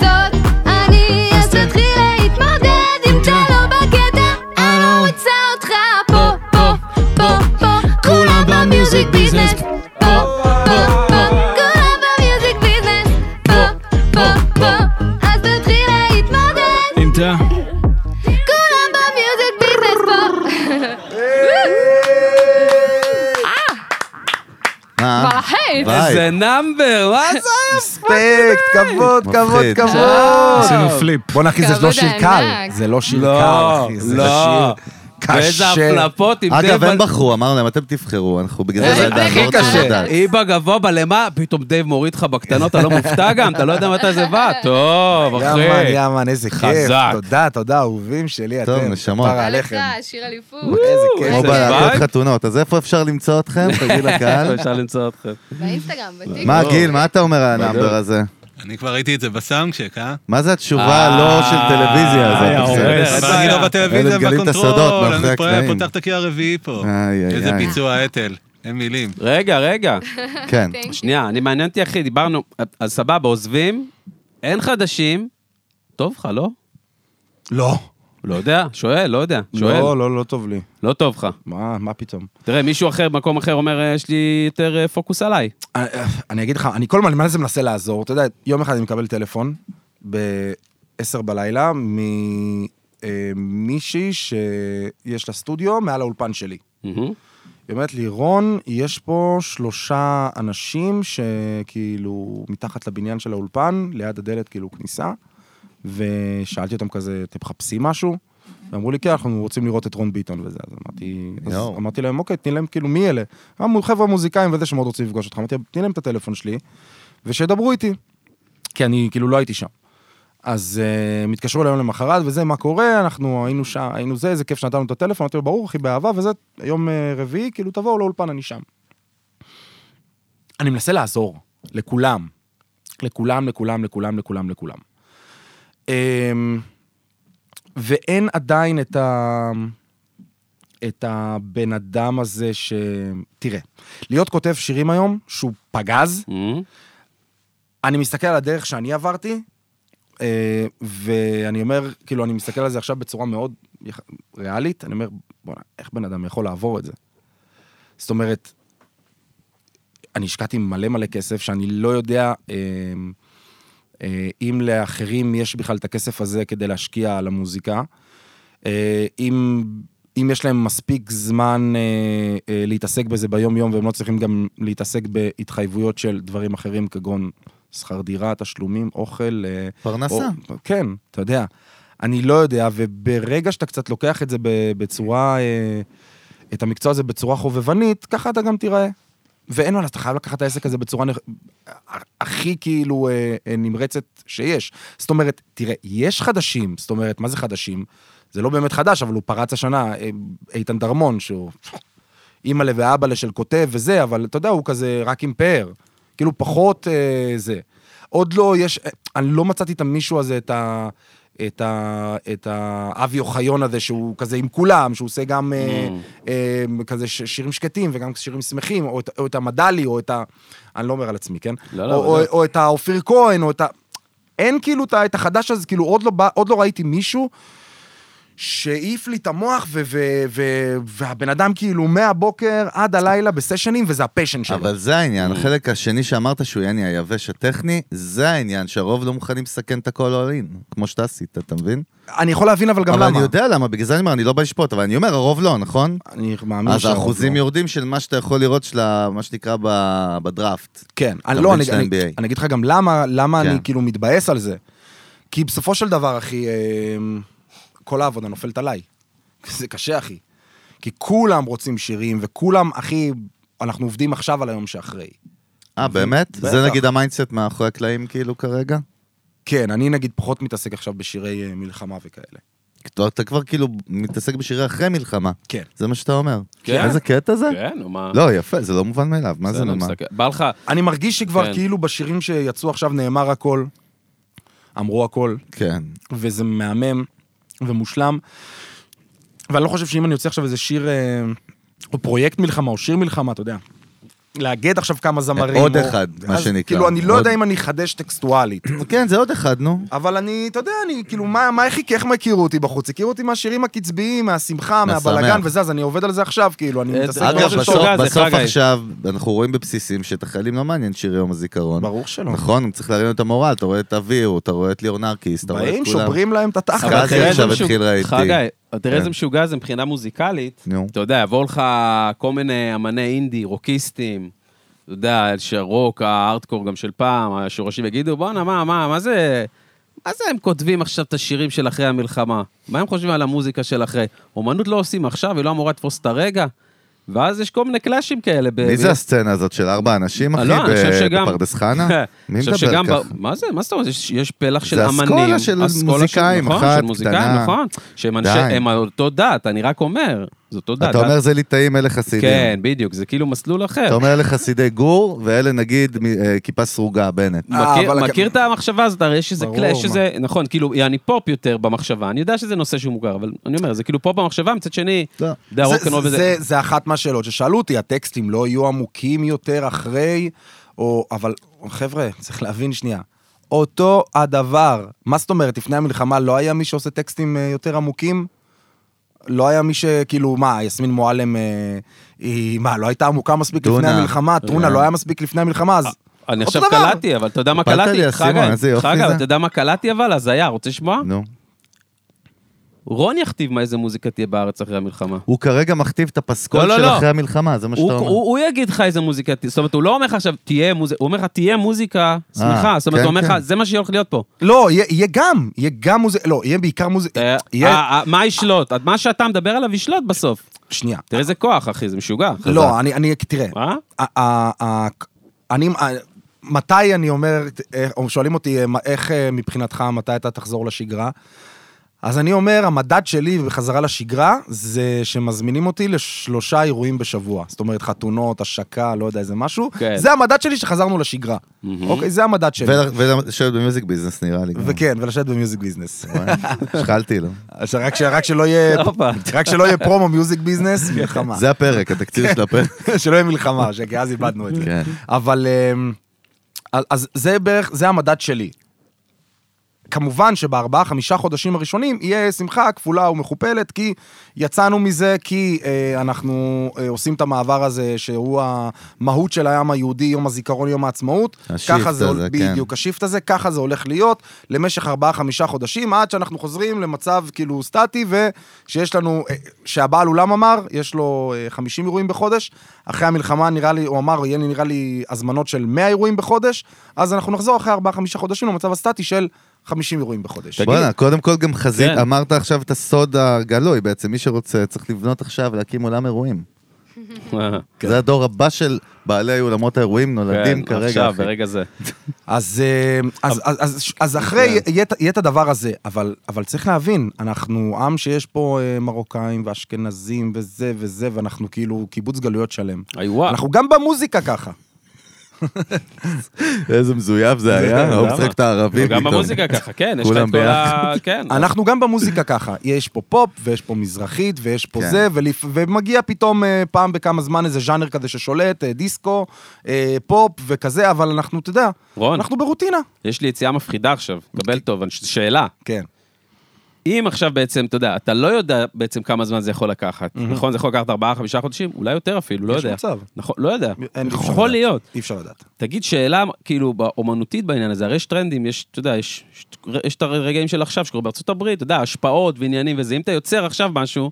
[SPEAKER 8] זאת אני אז תתחיל להתמודד אם אתה לא בקטע אני לא רוצה אותך פה, פה, פה, פה כולם במיוזיק ביזנס פה, פה, פה כולם במיוזיק ביזנס פה, פה, פה אז תתחיל להתמודד
[SPEAKER 4] אם אתה
[SPEAKER 8] כולם במיוזיק ביזנס פה
[SPEAKER 1] מה?
[SPEAKER 6] כבר אחרי.
[SPEAKER 1] ביי.
[SPEAKER 2] איזה נאמבר, מה זה?
[SPEAKER 3] רספקט, כבוד, כבוד,
[SPEAKER 1] מפחיד. אה,
[SPEAKER 3] כבוד.
[SPEAKER 5] עשינו פליפ.
[SPEAKER 3] בואנה אחי, זה לא
[SPEAKER 6] כבוד
[SPEAKER 3] שיר
[SPEAKER 6] הענק.
[SPEAKER 3] קל. זה לא שיר קל,
[SPEAKER 2] לא,
[SPEAKER 3] אחי. זה
[SPEAKER 2] לא.
[SPEAKER 3] שיר
[SPEAKER 2] ואיזה
[SPEAKER 3] קשה.
[SPEAKER 2] הפלפות עם
[SPEAKER 1] אגב,
[SPEAKER 2] דייב...
[SPEAKER 1] הם
[SPEAKER 2] על-
[SPEAKER 1] בחרו, אמרנו להם, אתם תבחרו, אנחנו בגלל
[SPEAKER 6] זה
[SPEAKER 1] זה לא ידענו,
[SPEAKER 6] הכי
[SPEAKER 1] לא רוצים
[SPEAKER 6] אה, קשה.
[SPEAKER 1] לדעת.
[SPEAKER 2] היא בגבוה בלמה, פתאום דייב מוריד לך בקטנות, אתה לא מופתע גם, אתה לא יודע מתי זה בא. טוב,
[SPEAKER 3] יאמן,
[SPEAKER 2] אחי.
[SPEAKER 3] יאמן, איזה כיף.
[SPEAKER 2] חזק.
[SPEAKER 3] תודה, תודה, אהובים שלי, אתם.
[SPEAKER 1] טוב, נשמות.
[SPEAKER 3] כפרה
[SPEAKER 6] לך,
[SPEAKER 3] עליכם.
[SPEAKER 6] שיר אליפות.
[SPEAKER 3] איזה כיף.
[SPEAKER 1] כמו
[SPEAKER 2] איזה
[SPEAKER 1] בלהקות
[SPEAKER 2] וייב.
[SPEAKER 1] חתונות, אז איפה אפשר למצוא אתכם? תגיד
[SPEAKER 2] איפה
[SPEAKER 1] לקהל.
[SPEAKER 2] אפשר למצוא אתכם?
[SPEAKER 6] באינסטגרם, בטיקטוק.
[SPEAKER 3] לא.
[SPEAKER 1] מה, גיל, מה אתה אומר על הנאמבר הזה?
[SPEAKER 5] אני כבר ראיתי את זה בסאונדשק, אה?
[SPEAKER 1] מה זה התשובה הלא של טלוויזיה
[SPEAKER 2] אה,
[SPEAKER 1] הזאת?
[SPEAKER 2] יורד.
[SPEAKER 1] בסדר.
[SPEAKER 5] אבל
[SPEAKER 2] בעיה.
[SPEAKER 5] אני לא
[SPEAKER 1] אלה
[SPEAKER 5] בטלוויזיה,
[SPEAKER 1] מגלים אה, את הסודות
[SPEAKER 5] בקונטרול,
[SPEAKER 1] מאחורי
[SPEAKER 5] אני פה-
[SPEAKER 1] הקלעים.
[SPEAKER 5] פותח את הקיר הרביעי פה.
[SPEAKER 1] איי, איי,
[SPEAKER 5] איזה
[SPEAKER 1] איי.
[SPEAKER 5] ביצוע אתל, אין מילים.
[SPEAKER 2] רגע, רגע.
[SPEAKER 1] כן.
[SPEAKER 2] שנייה, אני מעניין אותי, אחי, דיברנו, אז סבבה, עוזבים, אין חדשים, טוב לך, לא?
[SPEAKER 3] לא.
[SPEAKER 2] לא יודע, שואל, לא יודע, שואל,
[SPEAKER 3] לא, לא, לא טוב לי.
[SPEAKER 2] לא טוב לך.
[SPEAKER 3] מה, מה פתאום?
[SPEAKER 2] תראה, מישהו אחר, במקום אחר אומר, "אה, יש לי יותר אה, פוקוס עליי.
[SPEAKER 3] אני- אני אגיד לך, אני כל הזמן, מה זה מנסה לעזור? אתה יודע, יום אחד אני מקבל טלפון ב-10 בלילה ממישהי שיש לה סטודיו מעל האולפן שלי.
[SPEAKER 2] מהמם.
[SPEAKER 3] היא אומרת לי, רון, יש פה שלושה אנשים שכאילו מתחת לבניין של האולפן, ליד הדלת כאילו כניסה, ושאלתי אותם כזה, אתם מחפשים משהו? ואמרו לי, כן, אנחנו רוצים לראות את רון ביטון וזה. אז אמרתי, אז
[SPEAKER 1] יואו.
[SPEAKER 3] אמרתי להם, אוקיי, תני להם כאילו, מי אלה? אמרו, חבר'ה מוזיקאים וזה שמאוד רוצים לפגוש אותך. אמרתי, תני להם את הטלפון שלי, ושידברו איתי. כי אני כאילו לא הייתי שם. אז uh, הם התקשרו אליי יום למחרת, וזה, מה קורה, אנחנו היינו שם, היינו זה, איזה כיף שנתנו את הטלפון, אמרתי לו, ברור, אחי, באהבה, וזה, יום uh, רביעי, כאילו, תבואו לאולפן, אני שם. אני מנסה לעזור, לכולם. לכולם, לכולם, לכולם, לכולם, לכולם. אמ, Um, ואין עדיין את ה... את הבן אדם הזה ש... תראה, להיות כותב שירים היום, שהוא פגז,
[SPEAKER 2] אמ?
[SPEAKER 3] אני מסתכל על הדרך שאני עברתי, אה, ואני אומר, כאילו, אני מסתכל על זה עכשיו בצורה מאוד יח- ריאלית, אני אומר, בוא'נה, איך בן אדם יכול לעבור את זה? זאת אומרת, אני השקעתי מלא מלא כסף שאני לא יודע אה, אה, אם לאחרים יש בכלל את הכסף הזה כדי להשקיע על המוזיקה, אה, אם... אם יש להם מספיק זמן אה, אה, להתעסק בזה ביום-יום והם לא צריכים גם להתעסק בהתחייבויות של דברים אחרים כגון שכר דירה, תשלומים, אוכל. אה,
[SPEAKER 1] פרנסה.
[SPEAKER 3] או, כן, אתה יודע. אני לא יודע, וברגע שאתה קצת לוקח את זה ב- בצורה, אה, את המקצוע הזה בצורה חובבנית, ככה אתה גם תיראה. ואין מה, לעשות, אתה חייב לקחת את העסק הזה בצורה נכ... הכי כאילו אה, אה, נמרצת שיש. זאת אומרת, תראה, יש חדשים, זאת אומרת, מה זה חדשים? זה לא באמת חדש, אבל הוא פרץ השנה, אה, איתן דרמון, שהוא אימא'לה ואבא'לה של כותב וזה, אבל אתה יודע, הוא כזה רק עם פאר. כאילו פחות אה, זה. עוד לא, יש, אה, אני לא מצאתי את המישהו הזה, את ה... את ה... את האבי אוחיון הזה, שהוא כזה עם כולם, שהוא עושה גם אה, אה, כזה ש- שירים שקטים וגם שירים שמחים, או את, או את המדלי, או את ה... אני לא אומר על עצמי, כן?
[SPEAKER 2] לא, לא,
[SPEAKER 3] או, או,
[SPEAKER 2] לא.
[SPEAKER 3] או את האופיר כהן, או את ה... אין כאילו את ה- את החדש הזה, כאילו עוד לא, בא- עוד לא ראיתי מישהו שהעיף לי את המוח, ו- ו- ו- והבן אדם כאילו מהבוקר עד הלילה בסשנים, וזה הפשן שלו.
[SPEAKER 1] אבל זה העניין,
[SPEAKER 3] Mm.
[SPEAKER 1] החלק השני שאמרת שהוא יעני היבש הטכני, זה העניין שהרוב לא מוכנים לסכן את הכל all in, כמו שאתה עשית, אתה מבין?
[SPEAKER 3] אני יכול להבין אבל גם
[SPEAKER 1] אבל
[SPEAKER 3] למה.
[SPEAKER 1] אני יודע למה, בגלל זה אני אומר, אני לא בא לשפוט, אבל אני אומר, הרוב לא, נכון?
[SPEAKER 3] אני מאמין
[SPEAKER 1] אז
[SPEAKER 3] שהרוב
[SPEAKER 1] האחוזים
[SPEAKER 3] לא.
[SPEAKER 1] יורדים של מה שאתה יכול לראות של ה- מה שנקרא ב- בדראפט.
[SPEAKER 3] כן,
[SPEAKER 1] אתה
[SPEAKER 3] אני לא,
[SPEAKER 1] מבין
[SPEAKER 3] אני,
[SPEAKER 1] של
[SPEAKER 3] אני,
[SPEAKER 1] NBA.
[SPEAKER 3] אני אגיד לך גם למה, למה
[SPEAKER 1] כן.
[SPEAKER 3] אני כאילו מתבאס על זה. כי בסופו של דבר, אחי, אה, כל העבודה נופלת עליי. זה קשה, אחי. כי כולם רוצים שירים, וכולם, אחי, אנחנו עובדים עכשיו על היום שאחרי.
[SPEAKER 1] אה, באמת?
[SPEAKER 3] בטח.
[SPEAKER 1] זה נגיד המיינדסט מאחורי הקלעים כאילו כרגע?
[SPEAKER 3] כן, אני נגיד פחות מתעסק עכשיו בשירי אה, מלחמה וכאלה.
[SPEAKER 1] אתה- אתה כבר כאילו מתעסק בשירי אחרי מלחמה.
[SPEAKER 3] כן.
[SPEAKER 1] זה מה שאתה אומר.
[SPEAKER 2] כן.
[SPEAKER 1] איזה קטע זה?
[SPEAKER 2] כן, נו מה?
[SPEAKER 1] לא, יפה, זה לא מובן מאליו, מה זה
[SPEAKER 2] בסדר,
[SPEAKER 1] נאמר?
[SPEAKER 2] מסתכל. בא לך,
[SPEAKER 3] אני מרגיש שכבר
[SPEAKER 2] כן.
[SPEAKER 3] כאילו בשירים שיצאו עכשיו נאמר הכל, אמרו הכל,
[SPEAKER 1] כן.
[SPEAKER 3] וזה מהמם ומושלם. ואני לא חושב שאם אני יוצא עכשיו איזה שיר, אה, או פרויקט מלחמה, או שיר מלחמה, אתה יודע, לאגד עכשיו כמה זמרים.
[SPEAKER 1] עוד
[SPEAKER 3] או-
[SPEAKER 1] אחד, מה
[SPEAKER 3] אז
[SPEAKER 1] שנקרא.
[SPEAKER 3] כאילו, אני לא
[SPEAKER 1] עוד-
[SPEAKER 3] יודע אם אני אחדש טקסטואלית.
[SPEAKER 1] כן, זה עוד אחד, נו.
[SPEAKER 3] אבל אני, אתה יודע, אני, כאילו, מה, מה איך איך הכירו אותי בחוץ? הכירו אותי מהשירים הקצביים, מהשמחה,
[SPEAKER 1] מהשמח.
[SPEAKER 3] מהבלגן וזה, אז אני עובד על זה עכשיו, כאילו, אני
[SPEAKER 2] אה,
[SPEAKER 3] מתעסק...
[SPEAKER 2] זה כמו
[SPEAKER 1] אגב,
[SPEAKER 2] של
[SPEAKER 3] ממש
[SPEAKER 1] בסוף,
[SPEAKER 2] שוגג, זה
[SPEAKER 1] בסוף
[SPEAKER 2] חגי.
[SPEAKER 1] עכשיו, אנחנו רואים בבסיסים שאת החיילים לא מעניין שיר יום הזיכרון.
[SPEAKER 3] ברור שלא.
[SPEAKER 1] נכון, צריך להרים להם את המורל, אתה רואה את אביר, אתה רואה את ליאור נרקיס, אתה רואה את
[SPEAKER 3] באים,
[SPEAKER 1] כולם.
[SPEAKER 3] שוברים להם את התחת.
[SPEAKER 1] אבל
[SPEAKER 2] תראה איזה
[SPEAKER 1] עכשיו
[SPEAKER 2] משוג-
[SPEAKER 1] התחיל ראיתי.
[SPEAKER 2] חגי, תראה איזה
[SPEAKER 1] כן.
[SPEAKER 2] משוגע זה מבחינה מוזיקלית.
[SPEAKER 1] נו.
[SPEAKER 2] אתה יודע, יבואו לך כל מיני אמני אינדי, רוקיסטים, אתה יודע, שרוק, הארדקור גם של פעם, השורשים יגידו, בואנה, מה, מה, מה זה... מה זה הם כותבים עכשיו את השירים של אחרי המלחמה? מה הם חושבים על המוזיקה של אחרי? אומנות לא עושים עכשיו, היא לא אמורה לתפוס את הרגע? ואז יש כל מיני קלאשים כאלה. ב-
[SPEAKER 1] מי זה הסצנה הזאת של ארבע אנשים, אחי,
[SPEAKER 2] לא, אני חושב
[SPEAKER 1] ב-
[SPEAKER 2] שגם-
[SPEAKER 1] אה, בפרדס חנה? מי
[SPEAKER 2] אני חושב
[SPEAKER 1] מדבר
[SPEAKER 2] שגם
[SPEAKER 1] ככה?
[SPEAKER 2] ב- מה זה? מה זאת אומרת? יש- יש פלח של
[SPEAKER 1] זה
[SPEAKER 2] אמנים.
[SPEAKER 1] אסכולה של
[SPEAKER 2] אסכולה
[SPEAKER 1] מוזיקאים,
[SPEAKER 2] נכון,
[SPEAKER 1] אחת
[SPEAKER 2] של מוזיקאים,
[SPEAKER 1] קטנה.
[SPEAKER 2] נכון. שהם אנשי,
[SPEAKER 1] די.
[SPEAKER 2] הם על אותו דת, אני רק אומר. זה אותו דת.
[SPEAKER 1] אתה אומר זה ליטאים, אלה חסידים.
[SPEAKER 2] כן, בדיוק, זה כאילו מסלול אחר.
[SPEAKER 1] אתה אומר אלה חסידי גור, ואלה נגיד מ- אה, כיפה סרוגה, בנט.
[SPEAKER 3] אה,
[SPEAKER 2] מכיר-
[SPEAKER 3] אבל-
[SPEAKER 2] מכיר את המחשבה הזאת, הרי יש איזה
[SPEAKER 3] ברור,
[SPEAKER 2] כלי, יש איזה, נכון, כאילו, יעני פופ יותר במחשבה, אני יודע שזה נושא שהוא מוכר, אבל אני אומר, זה כאילו פופ במחשבה, מצד שני,
[SPEAKER 1] לא.
[SPEAKER 2] אתה יודע,
[SPEAKER 3] זה-
[SPEAKER 2] רוקנרול
[SPEAKER 3] זה-
[SPEAKER 2] וזה,
[SPEAKER 3] זה- זה אחת מהשאלות ששאלו אותי, הטקסטים לא יהיו עמוקים יותר אחרי, או... אבל חבר'ה, צריך להבין שנייה. אותו הדבר. מה זאת אומרת, לפני המלחמה לא היה מי שעושה טקסטים אה, יותר עמוקים? לא היה מי שכאילו, מה, יסמין מועלם, אה, היא, מה, לא הייתה עמוקה מספיק לפני
[SPEAKER 1] טונה.
[SPEAKER 3] המלחמה? טונה
[SPEAKER 1] אה.
[SPEAKER 3] לא היה מספיק לפני המלחמה, אז...
[SPEAKER 2] אני
[SPEAKER 3] אותו
[SPEAKER 2] עכשיו
[SPEAKER 3] דבר.
[SPEAKER 2] קלטתי, אבל אתה יודע מה
[SPEAKER 1] הפלת לי,
[SPEAKER 2] קלטתי?
[SPEAKER 1] אסימון, איזה
[SPEAKER 2] חגי,
[SPEAKER 1] יופי
[SPEAKER 2] חגי,
[SPEAKER 1] זה.
[SPEAKER 2] אבל אתה יודע מה קלטתי אבל? הזיה, רוצה לשמוע?
[SPEAKER 1] נו.
[SPEAKER 2] רון יכתיב מה איזה מוזיקה תהיה בארץ אחרי המלחמה.
[SPEAKER 1] הוא כרגע מכתיב את הפסקול
[SPEAKER 2] לא, לא,
[SPEAKER 1] של
[SPEAKER 2] לא.
[SPEAKER 1] אחרי המלחמה, זה מה
[SPEAKER 2] הוא,
[SPEAKER 1] שאתה
[SPEAKER 2] הוא,
[SPEAKER 1] אומר.
[SPEAKER 2] הוא יגיד לך איזה מוזיקה, ת- זאת אומרת, הוא לא אומר לך עכשיו, תהיה מוזיקה, הוא אומר לך, תהיה מוזיקה, שמחה, זאת אומרת,
[SPEAKER 1] כן,
[SPEAKER 2] הוא אומר לך,
[SPEAKER 1] כן.
[SPEAKER 2] זה מה שהולך להיות פה.
[SPEAKER 3] לא, יהיה, יהיה גם, יהיה גם מוזיקה, לא, יהיה בעיקר מוזיקה,
[SPEAKER 2] אה,
[SPEAKER 3] יהיה,
[SPEAKER 2] אה, אה, מה ישלוט? מה שאתה מדבר עליו ישלוט בסוף.
[SPEAKER 3] שנייה.
[SPEAKER 2] תראה איזה כוח, אחי, זה משוגע. אה?
[SPEAKER 3] לא, אני, אני, תראה,
[SPEAKER 2] מה?
[SPEAKER 3] ה- ה- ה- אני, ה- מתי אני אומר, אה, או שואלים אותי אה, מה- איך אה, מבחינתך, מתי אתה תחזור לשגרה? אז אני אומר, המדד שלי בחזרה לשגרה, זה שמזמינים אותי לשלושה אירועים בשבוע. זאת אומרת, חתונות, השקה, לא יודע איזה משהו.
[SPEAKER 2] כן.
[SPEAKER 3] זה המדד שלי שחזרנו לשגרה. אוקיי, זה המדד שלי.
[SPEAKER 1] ולשבת במיוזיק ביזנס נראה לי. אה? גם.
[SPEAKER 3] וכן, ולשבת במיוזיק ביזנס.
[SPEAKER 1] וואי, השחלתי לו.
[SPEAKER 3] אז רק ש- רק שלא יהיה...
[SPEAKER 2] הופה.
[SPEAKER 3] רק שלא יהיה פרומו מיוזיק ביזנס, מלחמה.
[SPEAKER 1] זה הפרק, התקציב של הפרק.
[SPEAKER 3] שלא יהיה מלחמה, ש- כי אז איבדנו את זה.
[SPEAKER 1] כן.
[SPEAKER 3] אבל אמ, אז- אז זה בערך, זה המדד שלי. כמובן שבארבעה, חמישה חודשים הראשונים יהיה שמחה כפולה ומכופלת, כי יצאנו מזה, כי אה, אנחנו אה, עושים את המעבר הזה, שהוא המהות של העם היהודי, יום הזיכרון, יום העצמאות.
[SPEAKER 1] השיפט
[SPEAKER 3] ככה זה,
[SPEAKER 1] הזה, כן.
[SPEAKER 3] בדיוק, השיפט הזה, ככה זה הולך להיות למשך ארבעה, חמישה חודשים, עד שאנחנו חוזרים למצב כאילו סטטי, ושיש לנו, אה, שהבעל אולם אמר, יש לו אה, 50 אירועים בחודש, אחרי המלחמה נראה לי, הוא אמר, יהיה לי נראה לי הזמנות של 100 אירועים בחודש, אז אנחנו נחזור אחרי ארבעה, חמישה חודשים למצב הסטטי של 50 אירועים בחודש.
[SPEAKER 1] בואנה, קודם כל גם חזית,
[SPEAKER 2] כן.
[SPEAKER 1] אמרת עכשיו את הסוד הגלוי, בעצם מי שרוצה צריך לבנות עכשיו, להקים עולם אירועים. זה הדור הבא של בעלי אולמות האירועים נולדים
[SPEAKER 2] כן,
[SPEAKER 1] כרגע,
[SPEAKER 2] עכשיו,
[SPEAKER 1] אחי.
[SPEAKER 2] ברגע זה.
[SPEAKER 3] אז, אה, אז, אז, אז, אז אחרי יהיה את- יהיה את הדבר הזה, אבל, אבל צריך להבין, אנחנו עם שיש פה אה, מרוקאים ואשכנזים וזה וזה, ואנחנו כאילו קיבוץ גלויות שלם.
[SPEAKER 2] אי וואו.
[SPEAKER 3] אנחנו גם במוזיקה ככה.
[SPEAKER 1] איזה מזויף זה היה, הוא
[SPEAKER 2] למה?
[SPEAKER 1] משחק את הערבים
[SPEAKER 2] גם
[SPEAKER 1] פתאום.
[SPEAKER 2] במוזיקה ככה, כן, יש לך
[SPEAKER 1] כולם
[SPEAKER 2] את כל ה... כן.
[SPEAKER 3] אנחנו גם במוזיקה ככה. יש פה פופ, ויש פה מזרחית, ויש פה
[SPEAKER 1] כן.
[SPEAKER 3] זה, ולפ... ומגיע פתאום אה, פעם בכמה זמן איזה ז'אנר כזה ששולט, אה, דיסקו, אה, פופ וכזה, אבל אנחנו, אתה יודע,
[SPEAKER 2] רון.
[SPEAKER 3] אנחנו ברוטינה.
[SPEAKER 2] יש לי יציאה מפחידה עכשיו, קבל טוב, אני- ש- שאלה.
[SPEAKER 3] כן.
[SPEAKER 2] אם עכשיו בעצם, אתה יודע, אתה לא יודע בעצם כמה זמן זה יכול לקחת, נכון? זה יכול לקחת ארבעה, חמישה חודשים? אולי יותר אפילו, לא
[SPEAKER 3] יש
[SPEAKER 2] יודע.
[SPEAKER 3] מצב.
[SPEAKER 2] נכון, לא יודע.
[SPEAKER 3] אין- אי אפשר
[SPEAKER 2] יכול
[SPEAKER 3] לדעת.
[SPEAKER 2] להיות.
[SPEAKER 3] אי אפשר לדעת.
[SPEAKER 2] תגיד שאלה, כאילו, אומנותית בעניין הזה, הרי יש טרנדים, יש, אתה יודע, יש, יש, יש את הרגעים של עכשיו שקורה בארצות הברית, אתה יודע, השפעות ועניינים וזה. אם אתה יוצר עכשיו משהו,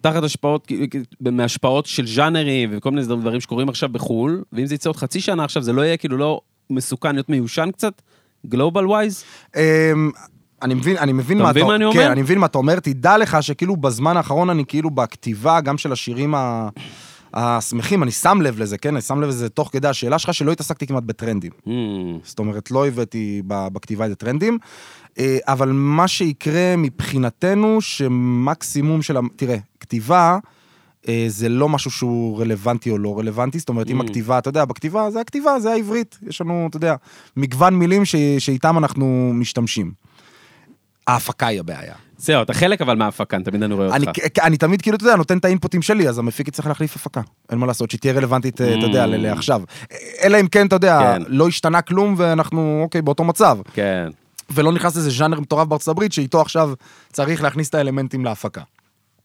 [SPEAKER 2] תחת השפעות, כאילו, כאילו, מהשפעות של ז'אנרים וכל מיני דברים שקורים עכשיו בחו"ל, ואם זה יצא עוד חצי שנה עכשיו, זה לא יהיה כאילו לא מסוכן להיות מיושן קצת? גלובל ווייז?
[SPEAKER 3] אמ, אני מבין, אני מבין
[SPEAKER 2] אתה
[SPEAKER 3] מה
[SPEAKER 2] מבין מה אני אומר?
[SPEAKER 3] כן, אני מבין מה אתה אומר. תדע לך שכאילו בזמן האחרון אני כאילו בכתיבה גם של השירים ה... השמחים, אני שם לב לזה, כן? אני שם לב לזה תוך כדי השאלה שלך שלא התעסקתי כמעט בטרנדים.
[SPEAKER 2] Hmm.
[SPEAKER 3] זאת אומרת, לא הבאתי ב- בכתיבה את הטרנדים, אה, אבל מה שיקרה מבחינתנו, שמקסימום של... המ- תראה, כתיבה... אה, זה לא משהו שהוא רלוונטי או לא רלוונטי, זאת אומרת,
[SPEAKER 2] Mm.
[SPEAKER 3] אם הכתיבה, אתה יודע, בכתיבה זה הכתיבה, זה העברית. יש לנו, אתה יודע, מגוון מילים ש... שאיתם אנחנו משתמשים. ההפקה היא הבעיה.
[SPEAKER 2] זהו, אתה חלק אבל מההפקן, תמיד אני רואה אותך.
[SPEAKER 3] אני, אני תמיד, כאילו, אתה יודע, נותן את האינפוטים שלי, אז המפיק יצטרך להחליף הפקה. אין מה לעשות, שהיא תהיה רלוונטית, אה, אתה יודע, ל- לעכשיו. אלא אם כן, אתה יודע,
[SPEAKER 2] Mm. כן.
[SPEAKER 3] לא השתנה כלום ואנחנו, אוקיי, באותו מצב.
[SPEAKER 2] כן.
[SPEAKER 3] ולא נכנס איזה ז'אנר מטורף בארצות הברית, שאיתו עכשיו צריך להכניס את האלמנטים להפקה.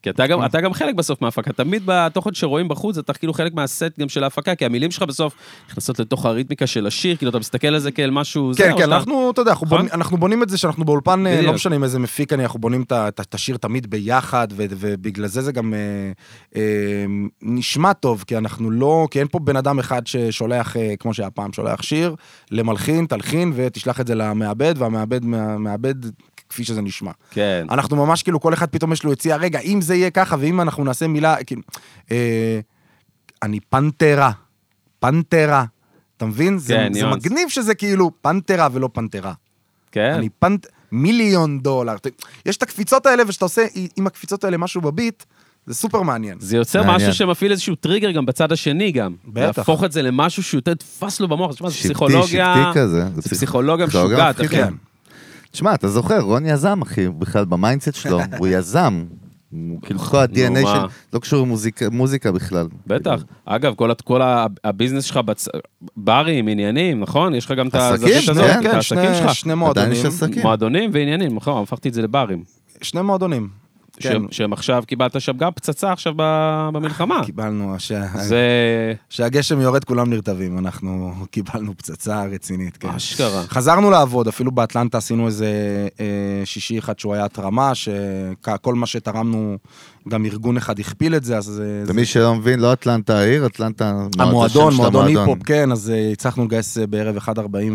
[SPEAKER 2] כי אתה גם, אתה גם חלק בסוף מההפקה, תמיד בתוכן שרואים בחוץ, אתה כאילו חלק מהסט גם של ההפקה, כי המילים שלך בסוף נכנסות לתוך הריתמיקה של השיר, כאילו אתה מסתכל על זה כאל משהו... זה,
[SPEAKER 3] כן,
[SPEAKER 2] או
[SPEAKER 3] כן,
[SPEAKER 2] שאתה-
[SPEAKER 3] אנחנו, אתה יודע, אנחנו
[SPEAKER 2] נכון?
[SPEAKER 3] בונים- אנחנו בונים את זה שאנחנו באולפן, אה, לא
[SPEAKER 2] בדיוק.
[SPEAKER 3] משנה עם איזה מפיק אני, אנחנו בונים את ה- את ה- את השיר תמיד ביחד, ו- ובגלל זה זה גם אה, אה, נשמע טוב, כי אנחנו לא, כי אין פה בן אדם אחד ששולח, אה, כמו שהיה פעם, שולח שיר למלחין, תלחין, ותשלח את זה למעבד, והמעבד, מה- מעבד כפי שזה נשמע.
[SPEAKER 2] כן.
[SPEAKER 3] אנחנו ממש כאילו, כל אחד פתאום יש לו יציאה, רגע, אם זה יהיה ככה, ואם אנחנו נעשה מילה, כאילו, אה, אני פנתרה, פנתרה, אתה מבין? זה,
[SPEAKER 2] כן,
[SPEAKER 3] זה
[SPEAKER 2] ניואנס.
[SPEAKER 3] מגניב שזה כאילו פנתרה ולא פנתרה.
[SPEAKER 2] כן.
[SPEAKER 3] אני פנת... מיליון דולר. ת- יש את הקפיצות האלה, וכשאתה עושה עם הקפיצות האלה משהו בביט, זה סופר מעניין.
[SPEAKER 2] זה יוצר
[SPEAKER 1] מעניין.
[SPEAKER 2] משהו שמפעיל איזשהו טריגר גם בצד השני גם.
[SPEAKER 3] בטח.
[SPEAKER 2] להפוך את זה למשהו שיותר תפס לו במוח, תשמע, זה
[SPEAKER 1] שבטי,
[SPEAKER 2] פסיכולוגיה...
[SPEAKER 1] שבטי כזה. זה
[SPEAKER 2] זה
[SPEAKER 1] פסיכ-
[SPEAKER 2] פסיכולוגיה
[SPEAKER 1] פסיכולוגיה
[SPEAKER 2] משוגעת, אחי.
[SPEAKER 1] מפחידה. תשמע, אתה זוכר, רון יזם, אחי, הוא בכלל במיינדסט שלו, הוא יזם. הוא כאילו כל ה-DNA
[SPEAKER 2] מה.
[SPEAKER 1] של... לא קשור למוזיקה מוזיקה בכלל.
[SPEAKER 2] בטח. אגב, כל הת- כל ה- הביזנס שלך, בצ- ברים, עניינים, נכון? יש לך גם את
[SPEAKER 1] עסקים,
[SPEAKER 2] הזווית הזאת,
[SPEAKER 1] כן,
[SPEAKER 2] את העסקים
[SPEAKER 3] שני,
[SPEAKER 2] שלך.
[SPEAKER 3] שני
[SPEAKER 1] עדיין יש
[SPEAKER 3] מועדונים.
[SPEAKER 1] עסקים.
[SPEAKER 2] מועדונים ועניינים, נכון, הפכתי את זה לברים.
[SPEAKER 3] שני מועדונים. כן,
[SPEAKER 2] שהם- שהם עכשיו, קיבלת שם גם פצצה עכשיו ב- במלחמה.
[SPEAKER 1] אה,
[SPEAKER 3] קיבלנו, ש...
[SPEAKER 2] זה
[SPEAKER 3] שהגשם יורד כולם נרטבים, אנחנו קיבלנו פצצה רצינית, כן.
[SPEAKER 2] אשכרה.
[SPEAKER 3] חזרנו לעבוד, אפילו באטלנטה עשינו איזה אה, שישי אחד שהוא היה התרמה, שכל מה שתרמנו, גם ארגון אחד הכפיל את זה, אז... זה- זה-
[SPEAKER 1] למי שלא מבין, לא אטלנטה העיר, אטלנטה...
[SPEAKER 3] המועדון,
[SPEAKER 1] השם של
[SPEAKER 3] מועדון
[SPEAKER 1] המועדון.
[SPEAKER 3] היפ-הופ, כן, אז אה, הצלחנו לגייס אה, בערב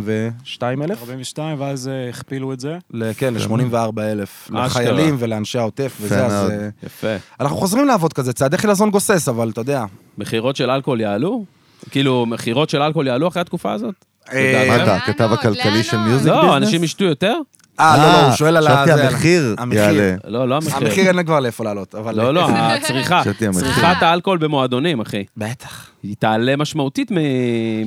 [SPEAKER 3] 142 אלף,
[SPEAKER 7] 42, ואז אה, הכפילו את זה.
[SPEAKER 3] כן, ל-84 אלף,
[SPEAKER 2] אשכרה.
[SPEAKER 3] לחיילים ולאנשי העוטף וזה, אז...
[SPEAKER 1] מאוד.
[SPEAKER 3] אה,
[SPEAKER 2] יפה.
[SPEAKER 3] אנחנו חוזרים לעבוד כזה, צעדי חילזון גוסס, אבל אתה יודע.
[SPEAKER 2] מכירות של אלכוהול יעלו? כאילו, מכירות של אלכוהול יעלו אחרי התקופה הזאת?
[SPEAKER 1] מה
[SPEAKER 2] אה,
[SPEAKER 1] אתה, הכתב
[SPEAKER 6] לאן עוד?
[SPEAKER 1] הכלכלי של
[SPEAKER 6] לאן
[SPEAKER 1] מיוזיק
[SPEAKER 6] עוד?
[SPEAKER 2] לא,
[SPEAKER 1] ביזנס?
[SPEAKER 2] אנשים ישתו יותר?
[SPEAKER 3] אה, לא, לא, הוא שואל על
[SPEAKER 1] חשבתי
[SPEAKER 3] זה, על-
[SPEAKER 1] המחיר יעלה.
[SPEAKER 2] לא, לא
[SPEAKER 3] המחיר
[SPEAKER 2] המחיר.
[SPEAKER 3] אין לה כבר לאיפה לעלות, אבל...
[SPEAKER 2] לא, לא, הצריכה.
[SPEAKER 1] חשבתי המחיר.
[SPEAKER 2] צריכת האלכוהול במועדונים, אחי.
[SPEAKER 3] בטח.
[SPEAKER 2] היא תעלה משמעותית מ...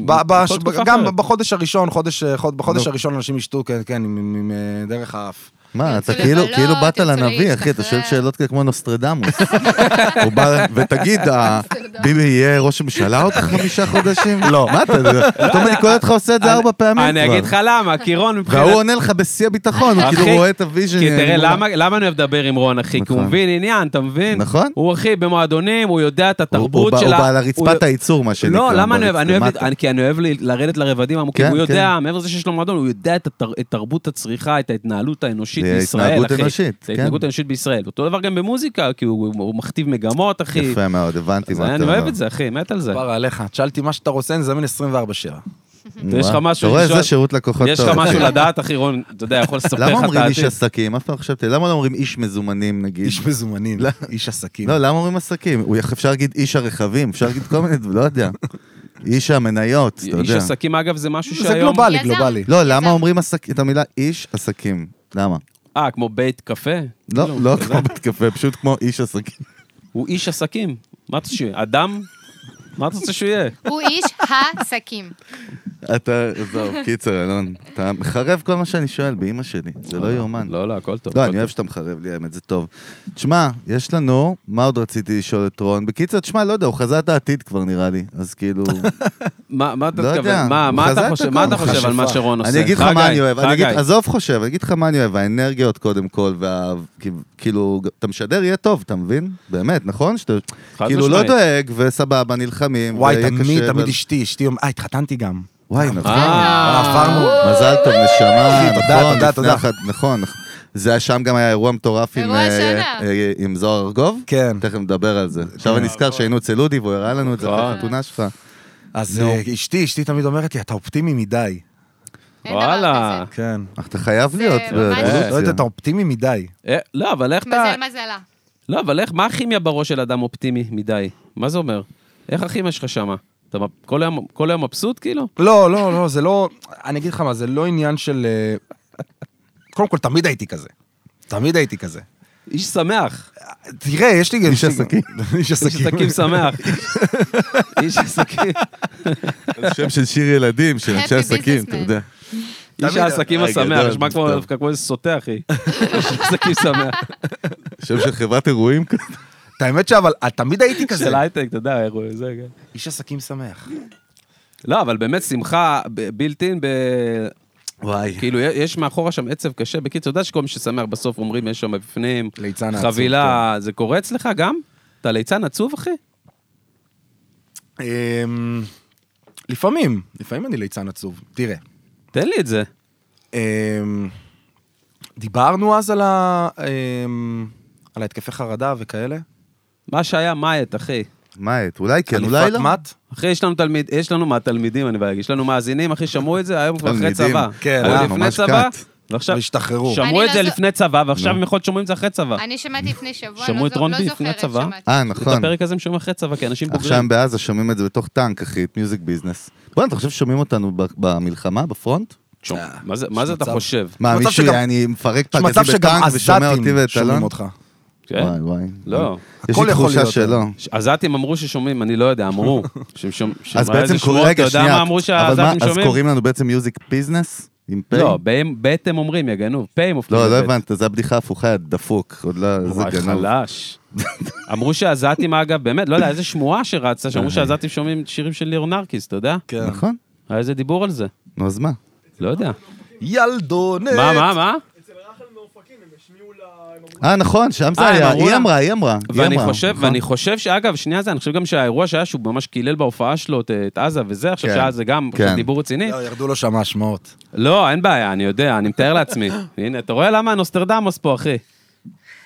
[SPEAKER 3] ב- ב-
[SPEAKER 2] מכל תקופה
[SPEAKER 3] גם
[SPEAKER 2] אחרת.
[SPEAKER 3] בחודש הראשון, חודש- אה, חוד- בחודש
[SPEAKER 1] נו.
[SPEAKER 3] הראשון אנשים ישתו, כן, כן, עם- עם- עם, אה, דרך האף.
[SPEAKER 1] מה,
[SPEAKER 6] תרצו
[SPEAKER 1] אתה כאילו
[SPEAKER 6] לבלות,
[SPEAKER 2] לא,
[SPEAKER 1] כאילו באת
[SPEAKER 6] תרצו
[SPEAKER 1] לנביא, אחי, אתה שואל
[SPEAKER 6] להשתחרר.
[SPEAKER 1] שאלות כאלה כמו נוסטרדמוס. הוא בא, ותגיד, ה- ביבי יהיה ראש ממשלה עוד חמישה חודשים? לא. מה אתה, פתאום אני קורא אותך עושה את זה ארבע פעמים
[SPEAKER 2] אני אגיד
[SPEAKER 1] כבר.
[SPEAKER 2] לך למה, כי רון מבחינת...
[SPEAKER 1] והוא עונה לך בשיא הביטחון, הוא
[SPEAKER 2] אחי,
[SPEAKER 1] כאילו רואה את הוויז'ן.
[SPEAKER 2] כי תראה, למה, למה אני אוהב לדבר עם רון, אחי? כי הוא
[SPEAKER 1] נכון.
[SPEAKER 2] מבין עניין, אתה מבין?
[SPEAKER 1] נכון.
[SPEAKER 2] הוא אחי במועדונים, הוא יודע את
[SPEAKER 1] הוא-
[SPEAKER 2] התרבות
[SPEAKER 1] הוא בא-
[SPEAKER 2] שלה.
[SPEAKER 1] הוא בעל הרצפת
[SPEAKER 2] הוא-
[SPEAKER 1] הייצור, מה שנקרא.
[SPEAKER 2] לא, למה אני אוהב? אני אוהב,
[SPEAKER 1] ברצפת.
[SPEAKER 2] אני- כי אני אוהב ל- לרדת לרבדים עמוקים.
[SPEAKER 1] כן,
[SPEAKER 2] הוא יודע, מעבר לזה שיש לו מועדון, הוא יודע את התר- את תרבות הצריכה, את ההתנהלות האנושית
[SPEAKER 1] זה
[SPEAKER 2] בישראל, אחי.
[SPEAKER 1] התנהגות אנושית,
[SPEAKER 2] זה
[SPEAKER 1] כן.
[SPEAKER 2] התנהגות אנושית בישראל. אותו דבר גם במוזיקה, כי הוא הוא מכתיב מגמות, אחי.
[SPEAKER 1] יפה מאוד, הבנתי
[SPEAKER 2] אז
[SPEAKER 1] מה אתה
[SPEAKER 2] אני
[SPEAKER 1] אומר.
[SPEAKER 2] אוהב את זה, אחי, מת על זה.
[SPEAKER 3] כבר עליך, תשאלתי מה שאתה רוצה, אני זמין 24-7.
[SPEAKER 1] נו,
[SPEAKER 2] יש לך
[SPEAKER 1] אה,
[SPEAKER 2] משהו
[SPEAKER 1] אתה רואה,
[SPEAKER 2] לשאול?
[SPEAKER 1] זה שירות לקוחות טוב.
[SPEAKER 2] יש לך משהו
[SPEAKER 1] אחי.
[SPEAKER 2] לדעת, אחי רון, אתה יודע, יכול לספר לך את
[SPEAKER 1] למה
[SPEAKER 2] העתיד.
[SPEAKER 1] אומרים איש עסקים? אף פעם לא חשבתי, למה לא אומרים איש מזומנים, נגיד?
[SPEAKER 3] איש מזומנים,
[SPEAKER 1] לא.
[SPEAKER 3] איש עסקים.
[SPEAKER 1] לא, למה אומרים עסקים? הוא- אפשר להגיד איש הרכבים, אפשר להגיד כל מיני, לא יודע. איש המניות, אתה
[SPEAKER 2] איש
[SPEAKER 1] יודע.
[SPEAKER 2] עסקים, אגב, זה משהו
[SPEAKER 3] זה
[SPEAKER 2] שהיום...
[SPEAKER 3] גלובלי,
[SPEAKER 6] יזם.
[SPEAKER 3] גלובלי.
[SPEAKER 1] לא,
[SPEAKER 6] יזם.
[SPEAKER 1] למה אומרים עסק- את המילה איש עסקים? למה?
[SPEAKER 2] אה, כמו בית קפה?
[SPEAKER 1] לא, לא כמו בית קפה, פשוט כמו איש עסקים.
[SPEAKER 2] הוא איש עסקים. מה אתה רוצה שהוא יהיה? אדם? מה אתה רוצה שהוא יהיה?
[SPEAKER 6] הוא איש העסקים.
[SPEAKER 1] אתה, עזוב, קיצר, אלון, אתה מחרב כל מה שאני שואל, באימא שלי, זה לא יאומן.
[SPEAKER 2] לא, לא, הכל טוב.
[SPEAKER 1] לא,
[SPEAKER 2] הכל
[SPEAKER 1] אני
[SPEAKER 2] טוב.
[SPEAKER 1] אוהב שאתה מחרב לי, האמת, זה טוב. תשמע, יש לנו, מה עוד רציתי לשאול את רון? בקיצר, תשמע, לא יודע, הוא חזה את העתיד כבר, נראה לי, אז כאילו...
[SPEAKER 2] מה מה אתה
[SPEAKER 1] לא יודע,
[SPEAKER 2] מתכוון? מה-
[SPEAKER 1] הוא
[SPEAKER 2] מה
[SPEAKER 1] חזה
[SPEAKER 2] אתה
[SPEAKER 1] את
[SPEAKER 2] חושב-
[SPEAKER 1] הכל.
[SPEAKER 2] מה אתה
[SPEAKER 1] הוא
[SPEAKER 2] חושב על מה
[SPEAKER 3] חשיפה.
[SPEAKER 2] שרון עושה?
[SPEAKER 1] אני אגיד לך מה
[SPEAKER 2] חגי,
[SPEAKER 1] אני אוהב, אני אגיד,
[SPEAKER 2] חגי.
[SPEAKER 1] עזוב חושב, אני אגיד לך מה אני אוהב, האנרגיות קודם כל, וה... כי- כאילו, אתה משדר, יהיה טוב, אתה מבין? באמת, נכון? שאתה,
[SPEAKER 2] חד
[SPEAKER 1] כאילו, לא
[SPEAKER 2] משמעית.
[SPEAKER 1] דואג, וסבבה, נלחמים,
[SPEAKER 3] וואי,
[SPEAKER 1] ויהיה
[SPEAKER 3] תמיד,
[SPEAKER 1] קשה,
[SPEAKER 3] תמיד
[SPEAKER 1] אבל-
[SPEAKER 3] אשתי, אשתי, אומרת- אה, התחתנתי גם.
[SPEAKER 1] וואי, נכון.
[SPEAKER 2] אה,
[SPEAKER 3] עברנו.
[SPEAKER 1] מזל טוב, נשמה,
[SPEAKER 3] אחי, תודה,
[SPEAKER 1] נכון,
[SPEAKER 3] תודה,
[SPEAKER 1] לפני
[SPEAKER 3] תודה.
[SPEAKER 1] אחת, נכון. זה היה שם גם היה אירוע מטורף עם,
[SPEAKER 6] אירוע
[SPEAKER 1] אה,
[SPEAKER 6] השנה.
[SPEAKER 1] אה, עם זוהר ארגוב.
[SPEAKER 3] כן.
[SPEAKER 1] תכף נדבר על זה. עכשיו אני נזכר שהיינו אצל אודי והוא הראה לנו את זה
[SPEAKER 2] נכון.
[SPEAKER 1] בחתונה שלך.
[SPEAKER 3] אז אה, אשתי, אשתי תמיד אומרת לי, אתה אופטימי מדי.
[SPEAKER 6] אין דבר
[SPEAKER 2] וואלה.
[SPEAKER 3] כן.
[SPEAKER 1] אך אתה חייב להיות
[SPEAKER 6] ממש-
[SPEAKER 1] באבולוציה.
[SPEAKER 3] לא יודעת, אתה אופטימי מדי.
[SPEAKER 2] אה, לא, אבל איך
[SPEAKER 6] כזה.
[SPEAKER 2] אתה...
[SPEAKER 6] מזל מזלה.
[SPEAKER 2] לא, אבל איך, מה הכימיה בראש של אדם אופטימי מדי? מה זה אומר? איך הכימיה שלך שמה? אתה מ- כל היום- כל היום מבסוט, כאילו?
[SPEAKER 3] לא, לא, לא, זה לא... אני אגיד לך מה, זה לא עניין של... אה, קודם כל, תמיד הייתי כזה. תמיד הייתי כזה.
[SPEAKER 2] איש שמח.
[SPEAKER 3] תראה, יש לי גם...
[SPEAKER 1] איש עסקים.
[SPEAKER 3] איש
[SPEAKER 2] איש
[SPEAKER 3] עסקים.
[SPEAKER 1] כאילו-
[SPEAKER 2] עסקים שמח. איש עסקים.
[SPEAKER 1] שם של שיר ילדים, של אנשי
[SPEAKER 6] Happy
[SPEAKER 1] עסקים, אתה
[SPEAKER 6] businessman.
[SPEAKER 1] יודע.
[SPEAKER 2] איש העסקים
[SPEAKER 1] רגע,
[SPEAKER 2] השמח,
[SPEAKER 1] גדול,
[SPEAKER 2] נשמע כמו-
[SPEAKER 1] טוב.
[SPEAKER 2] דווקא כמו איזה סוטה, אחי. איש עסקים שמח.
[SPEAKER 1] שם של חברת אירועים כזה.
[SPEAKER 3] את האמת שאבל, אה, תמיד הייתי כזה.
[SPEAKER 2] של הייטק, אתה יודע, אירוע, זה, כן.
[SPEAKER 3] איש עסקים שמח.
[SPEAKER 2] לא, אבל באמת שמחה ב- בילט אין ב... וואי. כאילו, יש- יש מאחורה שם עצב קשה. בקיצור, אתה יודע שכל מי ששמח בסוף אומרים, יש שם בפנים,
[SPEAKER 3] ליצן העצוב,
[SPEAKER 1] כן.
[SPEAKER 2] חבילה, זה קורה אצלך גם? אתה ליצן עצוב, אחי?
[SPEAKER 3] אמ, לפעמים, לפעמים אני ליצן עצוב. תראה,
[SPEAKER 2] תן לי את זה.
[SPEAKER 3] אמ, דיברנו אז על ה... אמ, על ההתקפי חרדה וכאלה?
[SPEAKER 2] מה שהיה מאייט, אחי.
[SPEAKER 1] מה, את? אולי כן, אולי לא.
[SPEAKER 3] מת?
[SPEAKER 2] אחי, יש לנו תלמיד, יש לנו מהתלמידים, אני בא להגיד, יש לנו מאזינים, אחי, שמעו את זה, היום כבר אחרי
[SPEAKER 1] תלמידים.
[SPEAKER 2] צבא.
[SPEAKER 3] כן,
[SPEAKER 2] היו
[SPEAKER 3] אה,
[SPEAKER 2] לפני
[SPEAKER 1] ממש
[SPEAKER 2] צבא,
[SPEAKER 1] קאט.
[SPEAKER 2] ועכשיו,
[SPEAKER 3] והשתחררו.
[SPEAKER 6] אני
[SPEAKER 2] שמעו את
[SPEAKER 6] לא
[SPEAKER 2] זה
[SPEAKER 6] זו-
[SPEAKER 2] לפני צבא, ועכשיו הם יכול להיות שומעים את זה אחרי צבא.
[SPEAKER 6] אני שמעתי לפני שבוע,
[SPEAKER 2] שמעו
[SPEAKER 6] לא
[SPEAKER 2] את
[SPEAKER 6] זו-
[SPEAKER 2] רון
[SPEAKER 6] לא
[SPEAKER 2] בי
[SPEAKER 6] זוכרת
[SPEAKER 2] לפני הצבא?
[SPEAKER 6] שמעתי.
[SPEAKER 1] אה,
[SPEAKER 2] את
[SPEAKER 1] נכון.
[SPEAKER 2] הפרק הזה הם שומעים אחרי צבא, כי אנשים
[SPEAKER 1] עכשיו
[SPEAKER 2] בוגרים.
[SPEAKER 1] בעזה שומעים את זה בתוך טנק, אחי, את מיוזיק ביזנס. בוא'נה, אתה חושב ששומעים אותנו ב- במלחמה, בפרונט?
[SPEAKER 2] שום- מה זה- מה זה אתה
[SPEAKER 3] מצב.
[SPEAKER 2] חושב?
[SPEAKER 1] מה,
[SPEAKER 3] מצב
[SPEAKER 1] מישהו
[SPEAKER 3] שגם-
[SPEAKER 1] יעני מפרק
[SPEAKER 3] יש מצב
[SPEAKER 1] פגזי
[SPEAKER 3] שגם
[SPEAKER 1] בטנק ושומע אותי
[SPEAKER 3] עזתים
[SPEAKER 1] ואת אלון?
[SPEAKER 3] שומעים אותך.
[SPEAKER 2] כן?
[SPEAKER 1] וואי, וואי.
[SPEAKER 2] לא.
[SPEAKER 1] יש
[SPEAKER 3] הכל
[SPEAKER 1] לי
[SPEAKER 3] יכול
[SPEAKER 1] תחושה
[SPEAKER 3] להיות.
[SPEAKER 1] שלא.
[SPEAKER 2] עזתים אמרו ששומעים, אני לא יודע, אמרו. שהם שומעים,
[SPEAKER 1] אז בעצם קוראים, רגע, שנייה.
[SPEAKER 2] אתה יודע מה אמרו
[SPEAKER 1] אבל מה,
[SPEAKER 2] שהעזתים
[SPEAKER 1] אז
[SPEAKER 2] שומעים?
[SPEAKER 1] קוראים לנו בעצם מיוזיק ביזנס? עם פ'?
[SPEAKER 2] לא, בהם- בית הם אומרים, יא גנוב, פה הם הופכים
[SPEAKER 1] לא, לא
[SPEAKER 2] לבית.
[SPEAKER 1] הבנת, זו הבדיחה ההפוכה, יא דפוק. עוד לא, איזה
[SPEAKER 2] וואי,
[SPEAKER 1] גנוב.
[SPEAKER 2] חלש. אמרו שהעזתים, אגב, באמת, לא יודע, איזה שמועה שרצה,
[SPEAKER 1] אה.
[SPEAKER 2] שאמרו שהעזתים שומעים שירים של ליאור נרקיס, אתה יודע?
[SPEAKER 3] כן.
[SPEAKER 1] נכון?
[SPEAKER 2] היה איזה דיבור על זה,
[SPEAKER 1] נו, אז מה?
[SPEAKER 2] לא יודע.
[SPEAKER 3] ילדונת.
[SPEAKER 2] מה, מה, מה?
[SPEAKER 1] אה, נכון, שם זה
[SPEAKER 2] אה, הם
[SPEAKER 1] היה.
[SPEAKER 2] אמרו
[SPEAKER 1] היא
[SPEAKER 2] לה-
[SPEAKER 1] אמרה, היא אמרה. היא
[SPEAKER 2] ואני
[SPEAKER 1] אמרה,
[SPEAKER 2] חושב,
[SPEAKER 1] נכון?
[SPEAKER 2] ואני חושב שאגב, שנייה זה, אני חושב גם שהאירוע שהיה, שהוא ממש קילל בהופעה שלו את- את עזה וזה, עכשיו
[SPEAKER 1] כן.
[SPEAKER 2] שהיה זה גם עכשיו
[SPEAKER 1] כן.
[SPEAKER 2] דיבור רציני.
[SPEAKER 3] לא, ירדו לו שם השמעות.
[SPEAKER 2] לא, אין בעיה, אני יודע, אני מתאר לעצמי. הנה, אתה רואה למה נוסטרדמוס פה, אחי?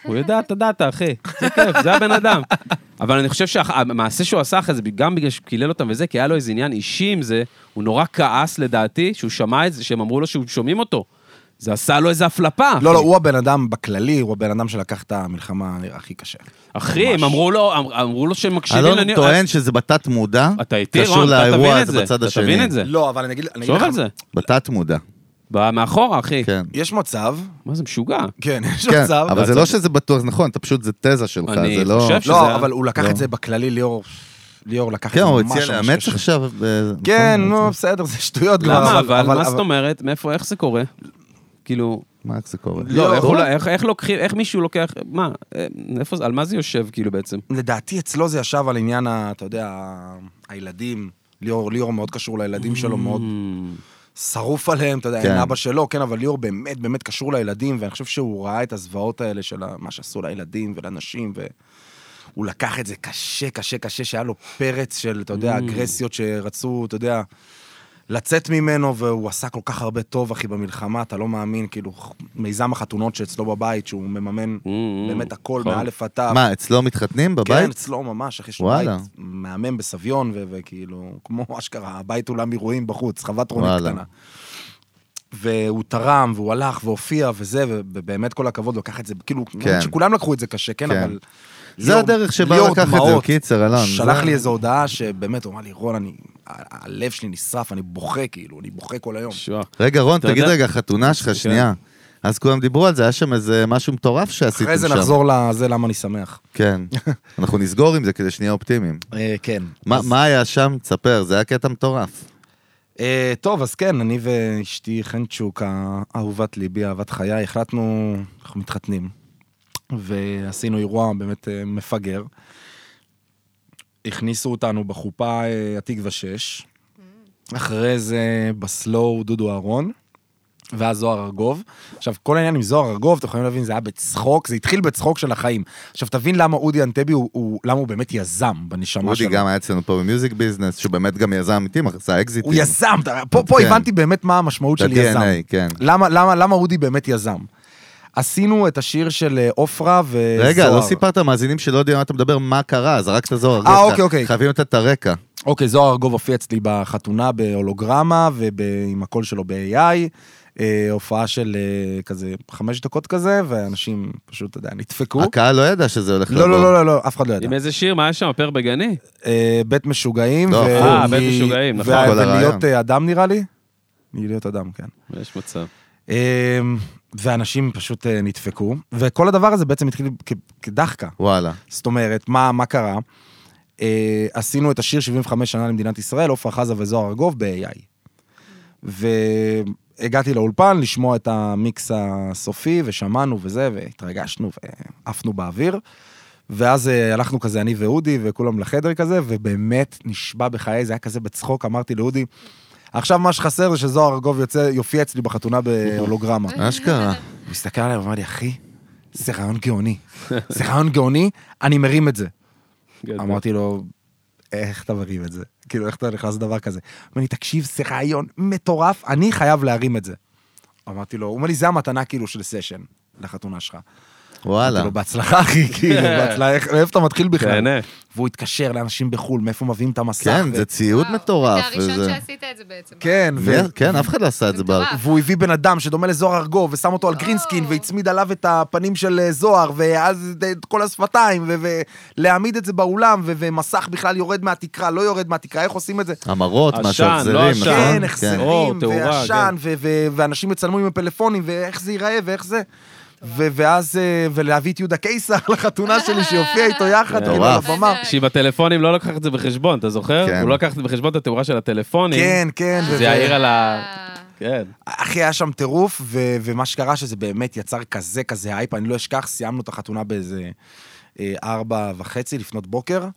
[SPEAKER 2] הוא יודע את הדאטה, אחי. זה כיף, זה הבן אדם. אבל אני חושב שהמעשה שהוא עשה אחרי זה, גם בגלל שהוא קילל אותם וזה, כי היה לו איזה עניין אישי עם זה, הוא נורא כעס לדעתי, שהוא שמע את זה, שהם אמרו לו שהוא שומעים אותו. זה עשה לו איזה הפלפה.
[SPEAKER 3] לא, לא, הוא הבן אדם בכללי, הוא הבן אדם שלקח את המלחמה הכי קשה.
[SPEAKER 2] אחי, הם אמרו לו, אמר- אמרו לו שהם מקשיבים אה,
[SPEAKER 1] אלון טוען שזה בתת מודע,
[SPEAKER 2] אתה איתי,
[SPEAKER 1] קשור
[SPEAKER 2] רון, אתה
[SPEAKER 1] לאירוע
[SPEAKER 2] תבין את
[SPEAKER 1] הזה
[SPEAKER 2] זה.
[SPEAKER 1] בצד
[SPEAKER 2] אתה
[SPEAKER 1] השני.
[SPEAKER 2] תבין את זה.
[SPEAKER 3] לא, אבל אני לא, אגיד אני אגיד
[SPEAKER 2] תחשוב
[SPEAKER 3] לך...
[SPEAKER 2] על זה.
[SPEAKER 1] בתת מודע.
[SPEAKER 2] בא מאחורה, אחי.
[SPEAKER 1] כן.
[SPEAKER 3] יש מצב,
[SPEAKER 2] מה זה משוגע?
[SPEAKER 3] כן, יש
[SPEAKER 1] כן,
[SPEAKER 3] מצב.
[SPEAKER 1] אבל זה לא שזה בטוח, זה נכון, אתה פשוט, זה תזה שלך,
[SPEAKER 2] אני
[SPEAKER 1] זה לא...
[SPEAKER 2] חושב ש- שזה-
[SPEAKER 3] לא, אבל הוא לקח
[SPEAKER 1] לא.
[SPEAKER 3] את זה בכללי, ליאור. ליאור לקח את
[SPEAKER 1] כן,
[SPEAKER 3] זה
[SPEAKER 1] הוא
[SPEAKER 3] ממש
[SPEAKER 1] הציע
[SPEAKER 2] לא
[SPEAKER 3] ממש
[SPEAKER 1] לאמץ
[SPEAKER 3] קשה.
[SPEAKER 1] עכשיו... ב-
[SPEAKER 3] כן,
[SPEAKER 1] נכון,
[SPEAKER 3] נו, בסדר, זה שטויות כבר.
[SPEAKER 2] למה אבל? מה זאת אומרת? מאיפה, איך זה קורה? כאילו,
[SPEAKER 1] מה איך זה קורה?
[SPEAKER 3] לא,
[SPEAKER 2] לא, איך
[SPEAKER 3] הוא-
[SPEAKER 2] אולי- איך- איך לוקחים, איך מישהו לוקח, מה, אה, איפה זה, על מה זה יושב כאילו בעצם?
[SPEAKER 3] לדעתי אצלו זה ישב על עניין, ה- אתה יודע, ה- הילדים. ליאור, ליאור מאוד קשור לילדים שלו,
[SPEAKER 2] Mm.
[SPEAKER 3] מאוד שרוף עליהם, אתה יודע,
[SPEAKER 1] כן.
[SPEAKER 3] אין אבא שלו, כן, אבל ליאור באמת באמת קשור לילדים, ואני חושב שהוא ראה את הזוועות האלה של ה- מה שעשו לילדים ולנשים, והוא לקח את זה קשה, קשה, קשה, שהיה לו פרץ של, אתה
[SPEAKER 2] Mm.
[SPEAKER 3] יודע, אגרסיות שרצו, אתה יודע, לצאת ממנו, והוא עשה כל כך הרבה טוב, אחי, במלחמה, אתה לא מאמין, כאילו, מיזם החתונות שאצלו בבית, שהוא מממן באמת
[SPEAKER 2] Mm,
[SPEAKER 3] הכל,
[SPEAKER 2] נכון.
[SPEAKER 3] מאלף עד תו.
[SPEAKER 1] מה, אצלו מתחתנים
[SPEAKER 3] כן,
[SPEAKER 1] בבית?
[SPEAKER 3] אצלו ממש, אחי, יש לו בית
[SPEAKER 1] וואלה.
[SPEAKER 3] מהמם בסביון, ו- וכאילו, כמו אשכרה, הבית אולם אירועים בחוץ, חוות רונית
[SPEAKER 1] וואלה.
[SPEAKER 3] קטנה. והוא תרם, והוא הלך, והופיע, וזה, ובאמת כל הכבוד, הוא לקח את זה, כאילו,
[SPEAKER 1] כן.
[SPEAKER 3] שכולם לקחו את זה קשה, כן,
[SPEAKER 1] כן.
[SPEAKER 3] אבל...
[SPEAKER 1] זה
[SPEAKER 3] ליאור-
[SPEAKER 1] הדרך שבה
[SPEAKER 3] ליאור
[SPEAKER 1] לקח את זה,
[SPEAKER 3] דמעות
[SPEAKER 1] קיצר, אלון,
[SPEAKER 3] שלח
[SPEAKER 1] זה-
[SPEAKER 3] לי איזו הודעה שבאמת, הוא אמר לי, רון, אני... ה- הלב שלי נשרף, אני בוכה, כאילו, אני בוכה כל היום.
[SPEAKER 2] שואה.
[SPEAKER 1] רגע, רון,
[SPEAKER 2] אתה
[SPEAKER 1] תגיד
[SPEAKER 2] יודע-
[SPEAKER 1] רגע, חתונה
[SPEAKER 3] כן.
[SPEAKER 1] שלך, שנייה. אז כולם דיברו על זה, היה שם איזה משהו מטורף שעשיתם שם.
[SPEAKER 3] אחרי זה נחזור לזה, למה אני שמח.
[SPEAKER 1] כן. אנחנו נסגור עם זה כדי שנהיה אופטימיים.
[SPEAKER 3] כן.
[SPEAKER 1] מה מה היה שם? תספר, זה היה קטע מטורף.
[SPEAKER 3] אה, טוב, אז כן, אני ואשתי חנצ'וק, אה- אהובת ליבי, אהבת חיי, החלטנו, אנחנו מתחתנים, ועשינו אירוע באמת אה, מפגר. הכניסו אותנו בחופה אה, התקווה 6, אחרי זה בסלואו דודו אהרון, ואז זוהר ארגוב. עכשיו, כל העניין עם זוהר ארגוב, אתם יכולים להבין, זה היה בצחוק, זה התחיל בצחוק של החיים. עכשיו, תבין למה אודי אנטבי הוא, הוא, למה הוא באמת יזם בנשמה שלו.
[SPEAKER 1] אודי גם היה אצלנו פה במיוזיק ביזנס, שהוא באמת גם יזם אמיתי, עשה אקזיטים.
[SPEAKER 3] הוא יזם, אתה- פה, פה
[SPEAKER 1] כן.
[SPEAKER 3] הבנתי באמת מה המשמעות
[SPEAKER 1] את
[SPEAKER 3] של יזם.
[SPEAKER 1] ה-DNA, כן.
[SPEAKER 3] למה, למה, למה אודי באמת יזם? עשינו את השיר של אה, עופרה וזוהר.
[SPEAKER 1] רגע, לא סיפרת למאזינים שלא יודעים מה אתה מדבר, מה קרה, זרקת זוהר. רגע,
[SPEAKER 3] אה, אוקיי, אוקיי.
[SPEAKER 1] חייבים לתת את הרקע.
[SPEAKER 3] אוקיי, זוהר ארגוב הופיע אצלי בחתונה בהולוגרמה ועם הקול שלו ב-AI. אה, הופעה של אה, כזה חמש דקות כזה, ואנשים פשוט, אתה יודע, נדפקו.
[SPEAKER 1] הקהל לא ידע שזה הולך
[SPEAKER 3] לא, לא, לא, לא, לא, אף אחד לא ידע.
[SPEAKER 2] עם איזה שיר, מה היה שם, הפר בגני?
[SPEAKER 3] אה, בית משוגעים.
[SPEAKER 1] לא,
[SPEAKER 3] ו-
[SPEAKER 1] הפוך. אה,
[SPEAKER 2] בית
[SPEAKER 3] ו-
[SPEAKER 2] משוגעים, נכון.
[SPEAKER 3] ו-
[SPEAKER 1] כל הרעיון.
[SPEAKER 3] ולהיות אה, אדם נראה לי? להיות אדם, כן.
[SPEAKER 2] יש מצב.
[SPEAKER 3] אמ, ואנשים פשוט אה, נדפקו, וכל הדבר הזה בעצם התחיל כ- כדחקה.
[SPEAKER 1] וואלה.
[SPEAKER 3] זאת אומרת, מה, מה קרה? אה, עשינו את השיר 75 שנה למדינת ישראל, עופרה חזה וזוהר ארגוב ב-AI. והגעתי לאולפן לשמוע את המיקס הסופי, ושמענו וזה, והתרגשנו ועפנו באוויר. ואז אה, הלכנו כזה, אני ואודי, וכולם לחדר כזה, ובאמת נשבע בחיי, זה היה כזה בצחוק, אמרתי לאודי, עכשיו מה שחסר זה שזוהר ארגוב יוצא, יופיע אצלי בחתונה בהולוגרמה.
[SPEAKER 1] אשכרה.
[SPEAKER 3] הוא הסתכל עליי ואמר לי, אחי, זה רעיון גאוני. זה רעיון גאוני, אני מרים את זה.
[SPEAKER 2] גדול.
[SPEAKER 3] אמרתי לו, איך אתה מרים את זה? כאילו, איך אתה נכנס לדבר כזה? הוא אומר לי, תקשיב, זה רעיון מטורף, אני חייב להרים את זה. אמרתי לו, הוא אומר לי, זה המתנה כאילו של סשן, לחתונה שלך.
[SPEAKER 1] וואלה.
[SPEAKER 3] אמרתי לו, בהצלחה, אחי, כאילו,
[SPEAKER 1] כן.
[SPEAKER 3] בהצלחה, איך- מאיפה אתה מתחיל בכלל?
[SPEAKER 2] תהנה.
[SPEAKER 3] והוא התקשר לאנשים בחו"ל, מאיפה מביאים את המסך.
[SPEAKER 1] כן,
[SPEAKER 3] ו-
[SPEAKER 1] זה ציוד
[SPEAKER 6] וואו,
[SPEAKER 1] מטורף.
[SPEAKER 6] אתה הראשון
[SPEAKER 1] וזה-
[SPEAKER 6] שעשית את זה בעצם.
[SPEAKER 3] כן, ו-
[SPEAKER 1] מי- כן, אף אחד לא עשה את זה
[SPEAKER 6] זה
[SPEAKER 1] בארץ.
[SPEAKER 6] מטורף.
[SPEAKER 3] והוא הביא בן אדם שדומה לזוהר ארגוב, ושם אותו על גרינסקין, והצמיד עליו את הפנים של אה, זוהר, ואז את כל השפתיים, ו- ולהעמיד את זה באולם, ו- ומסך בכלל יורד מהתקרה, לא יורד מהתקרה, איך עושים את זה?
[SPEAKER 1] המראות, מה
[SPEAKER 2] עשן,
[SPEAKER 1] שהחזרים,
[SPEAKER 2] לא
[SPEAKER 1] נכון?
[SPEAKER 2] עשן.
[SPEAKER 3] כן,
[SPEAKER 2] כן, אור,
[SPEAKER 3] החזרים,
[SPEAKER 2] תאורה,
[SPEAKER 3] ועשן,
[SPEAKER 2] כן.
[SPEAKER 3] ו- ו- ואנשים יצלמו עם הפלאפונים, ואיך זה ייראה, ואיך זה... ו- ואז, אה, ולהביא את יהודה קיסר לחתונה שלי, שיופיע איתו יחד,
[SPEAKER 2] כן.
[SPEAKER 3] כאילו, על
[SPEAKER 1] מטורף.
[SPEAKER 3] הבמה.
[SPEAKER 2] שהיא בטלפונים לא לקחת את זה בחשבון, אתה זוכר?
[SPEAKER 1] כן.
[SPEAKER 2] הוא לא לקח את זה בחשבון את התאורה של הטלפונים.
[SPEAKER 3] כן, כן. ו-
[SPEAKER 2] זה יאיר על ה...
[SPEAKER 6] אה,
[SPEAKER 2] כן.
[SPEAKER 3] אחי, היה שם טירוף, ו- ומה שקרה שזה באמת יצר כזה כזה הייפ, אני לא אשכח, סיימנו את החתונה באיזה אה, ארבע וחצי לפנות בוקר.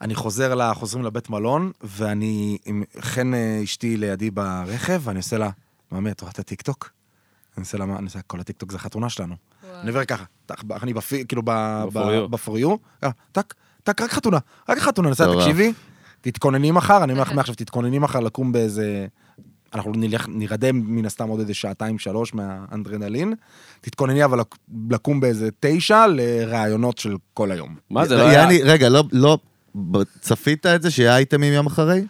[SPEAKER 3] אני חוזר, לה, חוזרים לבית מלון, ואני עם חן אה, אשתי לידי ברכב, ואני עושה לה, מאמי, את רואה את הטיקטוק? אני עושה לה, מה- אני עושה, כל הטיקטוק זה החתונה שלנו. אני עובר ככה, טח, ב- אני בפי, כאילו,
[SPEAKER 2] ב-for you.
[SPEAKER 3] בפוריו, טק, טק, אה, רק חתונה, רק חתונה, אני עושה,
[SPEAKER 1] מטורף.
[SPEAKER 3] תקשיבי, תתכונני מחר, אני אומר לך מעכשיו, תתכונני מחר לקום באיזה... אנחנו נלך, נרדם מן הסתם עוד איזה שעתיים, שלוש מהאנדרנלין. תתכונני אבל לק- לקום באיזה תשע לראיונות של כל היום.
[SPEAKER 2] מה זה, לא היה...
[SPEAKER 1] יעני, רגע, לא- לא... ב- צפית את זה שיהיה אייטמים יום אחרי?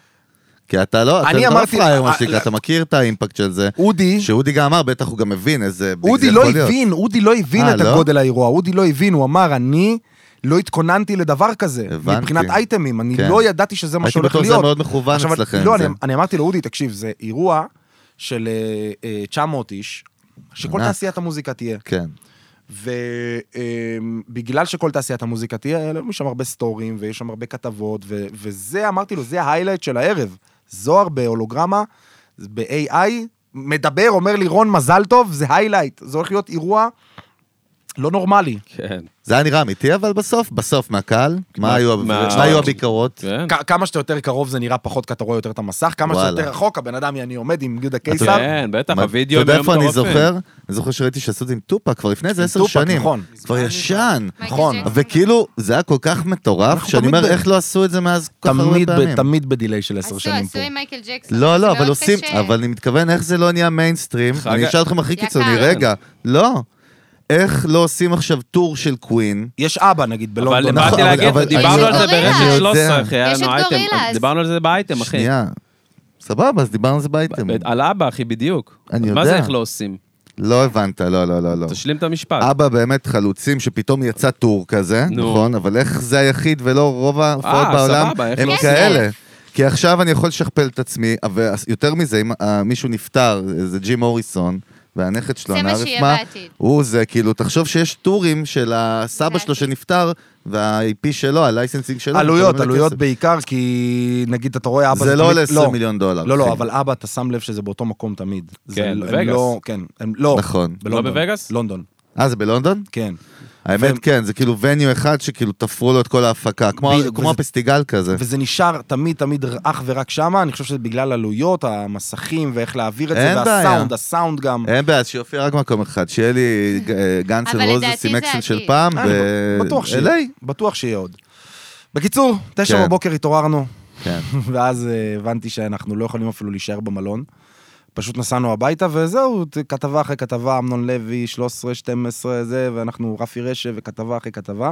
[SPEAKER 1] כי אתה לא, אתה
[SPEAKER 3] אני
[SPEAKER 1] לא
[SPEAKER 3] אמרתי-
[SPEAKER 1] פראייר, מה
[SPEAKER 3] אה,
[SPEAKER 1] שנקרא,
[SPEAKER 3] לא.
[SPEAKER 1] אתה מכיר את האימפקט של זה.
[SPEAKER 3] אודי,
[SPEAKER 1] שאודי גם אמר, בטח הוא גם הבין איזה... ביג
[SPEAKER 3] אודי
[SPEAKER 1] זה
[SPEAKER 3] לא
[SPEAKER 1] יכול להיות.
[SPEAKER 3] הבין, אודי לא הבין
[SPEAKER 1] אה,
[SPEAKER 3] את
[SPEAKER 1] לא?
[SPEAKER 3] הגודל האירוע, אודי לא הבין, הוא אמר, אני לא התכוננתי לדבר כזה,
[SPEAKER 1] הבנתי.
[SPEAKER 3] מבחינת אייטמים, אני
[SPEAKER 1] כן.
[SPEAKER 3] לא ידעתי שזה מה
[SPEAKER 1] הייתי
[SPEAKER 3] שהולך
[SPEAKER 1] בטוח
[SPEAKER 3] להיות.
[SPEAKER 1] שזה מאוד מכוון
[SPEAKER 3] עכשיו,
[SPEAKER 1] אצלכם.
[SPEAKER 3] לא,
[SPEAKER 1] זה.
[SPEAKER 3] אני, אני אמרתי לו, אודי, תקשיב, זה אירוע של אה, אה, 900 איש, שכל
[SPEAKER 1] ענק.
[SPEAKER 3] תעשיית המוזיקה תהיה.
[SPEAKER 1] כן.
[SPEAKER 3] ובגלל שכל תעשיית המוזיקה תהיה, העלינו שם הרבה סטורים, ויש שם הרבה כתבות, ו- וזה, אמרתי לו, זה ההיילייט של הערב. זוהר בהולוגרמה, ב-AI, מדבר, אומר לי, רון, מזל טוב, זה היילייט. זה הולך להיות אירוע לא נורמלי.
[SPEAKER 2] כן.
[SPEAKER 1] זה היה נראה אמיתי, אבל בסוף, בסוף מהקהל, מה היו
[SPEAKER 2] מה-
[SPEAKER 1] מה היו הביקורות?
[SPEAKER 2] כן.
[SPEAKER 3] כ- כמה שאתה יותר קרוב זה נראה פחות, כי אתה רואה יותר את המסך, כמה שאתה
[SPEAKER 1] וואלה.
[SPEAKER 3] יותר רחוק, הבן אדם, אני עומד עם יהודה קיסר.
[SPEAKER 2] כן, בטח,
[SPEAKER 1] מה-
[SPEAKER 2] הוידאו
[SPEAKER 1] אתה יודע איפה אני
[SPEAKER 2] מטורפים.
[SPEAKER 1] זוכר? אני זוכר שראיתי שעשו את זה עם טופק כבר לפני איזה עשר
[SPEAKER 3] טופק,
[SPEAKER 1] שנים.
[SPEAKER 3] נכון.
[SPEAKER 1] כבר ישן.
[SPEAKER 6] מייקל
[SPEAKER 3] נכון,
[SPEAKER 6] ג'קסון.
[SPEAKER 1] וכאילו, זה היה כל כך מטורף,
[SPEAKER 3] אנחנו
[SPEAKER 1] שאני
[SPEAKER 3] תמיד
[SPEAKER 1] אומר,
[SPEAKER 3] ב-
[SPEAKER 1] איך לא עשו את זה מאז כל כך הרבה
[SPEAKER 3] תמיד, ב-
[SPEAKER 1] פעמים?
[SPEAKER 3] תמיד בדיליי של עשר
[SPEAKER 6] עשו,
[SPEAKER 3] שנים
[SPEAKER 6] עשו
[SPEAKER 3] פה.
[SPEAKER 6] עם מייקל ג'קסון.
[SPEAKER 1] לא,
[SPEAKER 6] זה
[SPEAKER 1] לא, אבל
[SPEAKER 6] מאוד
[SPEAKER 1] עושים,
[SPEAKER 6] קשה.
[SPEAKER 1] אבל אני מתכוון איך זה לא נהיה מיינסטרים.
[SPEAKER 2] חג-
[SPEAKER 1] אני אשאל אתכם הכי
[SPEAKER 6] יקר.
[SPEAKER 1] קיצוני, רגע, לא. איך לא עושים עכשיו טור של קווין?
[SPEAKER 3] יש אבא, נגיד,
[SPEAKER 2] אבל
[SPEAKER 3] בלונדון.
[SPEAKER 1] נכון,
[SPEAKER 2] באתי להגיד,
[SPEAKER 1] אבל-
[SPEAKER 2] דיברנו על זה
[SPEAKER 6] יש את גורילה.
[SPEAKER 2] ברשת 13, אחי, היה
[SPEAKER 6] יש
[SPEAKER 2] לנו
[SPEAKER 6] את
[SPEAKER 2] אייטם.
[SPEAKER 6] גורילאז.
[SPEAKER 2] דיברנו על זה באייטם, אחי.
[SPEAKER 1] שנייה. סבבה, אז דיברנו על זה באייטם.
[SPEAKER 2] אה, על אבא, אחי, בדיוק.
[SPEAKER 1] אני
[SPEAKER 2] מה
[SPEAKER 1] יודע.
[SPEAKER 2] זה איך לא עושים?
[SPEAKER 1] לא הבנת, לא, לא, לא, לא.
[SPEAKER 2] תשלים את המשפט.
[SPEAKER 1] אבא באמת חלוצים שפתאום יצא טור כזה,
[SPEAKER 2] נו.
[SPEAKER 1] נכון? אבל איך זה היחיד ולא רוב ההופעות
[SPEAKER 2] אה,
[SPEAKER 1] בעולם
[SPEAKER 2] סבבה, איך
[SPEAKER 1] הם
[SPEAKER 2] לא
[SPEAKER 6] עושים?
[SPEAKER 1] כאלה. כי עכשיו אני יכול לשכפל את עצמי, ויותר מזה, אם אה, מישהו נפטר, זה ג'ים מוריסון, והנכד שלו,
[SPEAKER 6] זה מה
[SPEAKER 1] הנער
[SPEAKER 6] שיהיה
[SPEAKER 1] רפמה,
[SPEAKER 6] בעתיד.
[SPEAKER 1] הוא זה, כאילו, תחשוב שיש טורים של הסבא שלו
[SPEAKER 6] בעתיד.
[SPEAKER 1] שנפטר, וה-IP שלו, הלייסנסינג שלו.
[SPEAKER 3] עלויות,
[SPEAKER 1] משלמים לו
[SPEAKER 3] עלויות
[SPEAKER 1] לא כסף.
[SPEAKER 3] בעיקר, כי נגיד אתה רואה אבא...
[SPEAKER 1] זה לא עולה
[SPEAKER 3] תמיד-
[SPEAKER 1] 20 מיליון דולר.
[SPEAKER 3] לא,
[SPEAKER 1] אחי.
[SPEAKER 3] לא, אבל אבא, אתה שם לב שזה באותו מקום תמיד. זה
[SPEAKER 2] כן,
[SPEAKER 3] הם
[SPEAKER 2] בווגאס.
[SPEAKER 3] לא- כן, הם לא.
[SPEAKER 1] נכון.
[SPEAKER 3] בלונדון.
[SPEAKER 2] לא בווגאס?
[SPEAKER 3] לונדון,
[SPEAKER 1] אה, זה בלונדון?
[SPEAKER 3] כן.
[SPEAKER 1] האמת,
[SPEAKER 3] ו-
[SPEAKER 1] כן, זה כאילו וניו אחד שכאילו תפרו לו את כל ההפקה, כמו-
[SPEAKER 3] בדיוק,
[SPEAKER 1] כמו
[SPEAKER 3] וזה-
[SPEAKER 1] הפסטיגל כזה.
[SPEAKER 3] וזה נשאר תמיד תמיד אך ורק שמה, אני חושב שזה בגלל עלויות, המסכים ואיך להעביר את זה,
[SPEAKER 1] אין בעיה.
[SPEAKER 3] והסאונד, הסאונד גם.
[SPEAKER 1] אין בעיה, אז שיופיע רק מקום אחד, שיהיה לי אה, ג- גנץ
[SPEAKER 6] אבל
[SPEAKER 1] ורוזס
[SPEAKER 6] לדעתי
[SPEAKER 1] עם
[SPEAKER 6] זה
[SPEAKER 1] אקסל של
[SPEAKER 6] עתיד.
[SPEAKER 1] פעם,
[SPEAKER 3] אה, אני
[SPEAKER 1] ו-
[SPEAKER 3] בטוח שיהיה,
[SPEAKER 1] LA.
[SPEAKER 3] בטוח שיהיה עוד. בקיצור, תשע
[SPEAKER 1] כן.
[SPEAKER 3] בבוקר התעוררנו,
[SPEAKER 1] כן.
[SPEAKER 3] ואז אה, הבנתי שאנחנו לא יכולים אפילו להישאר במלון. פשוט נסענו הביתה, וזהו, ת- כתבה אחרי כתבה, אמנון לוי, 13, 12, זה, ואנחנו רפי רשב, וכתבה אחרי כתבה.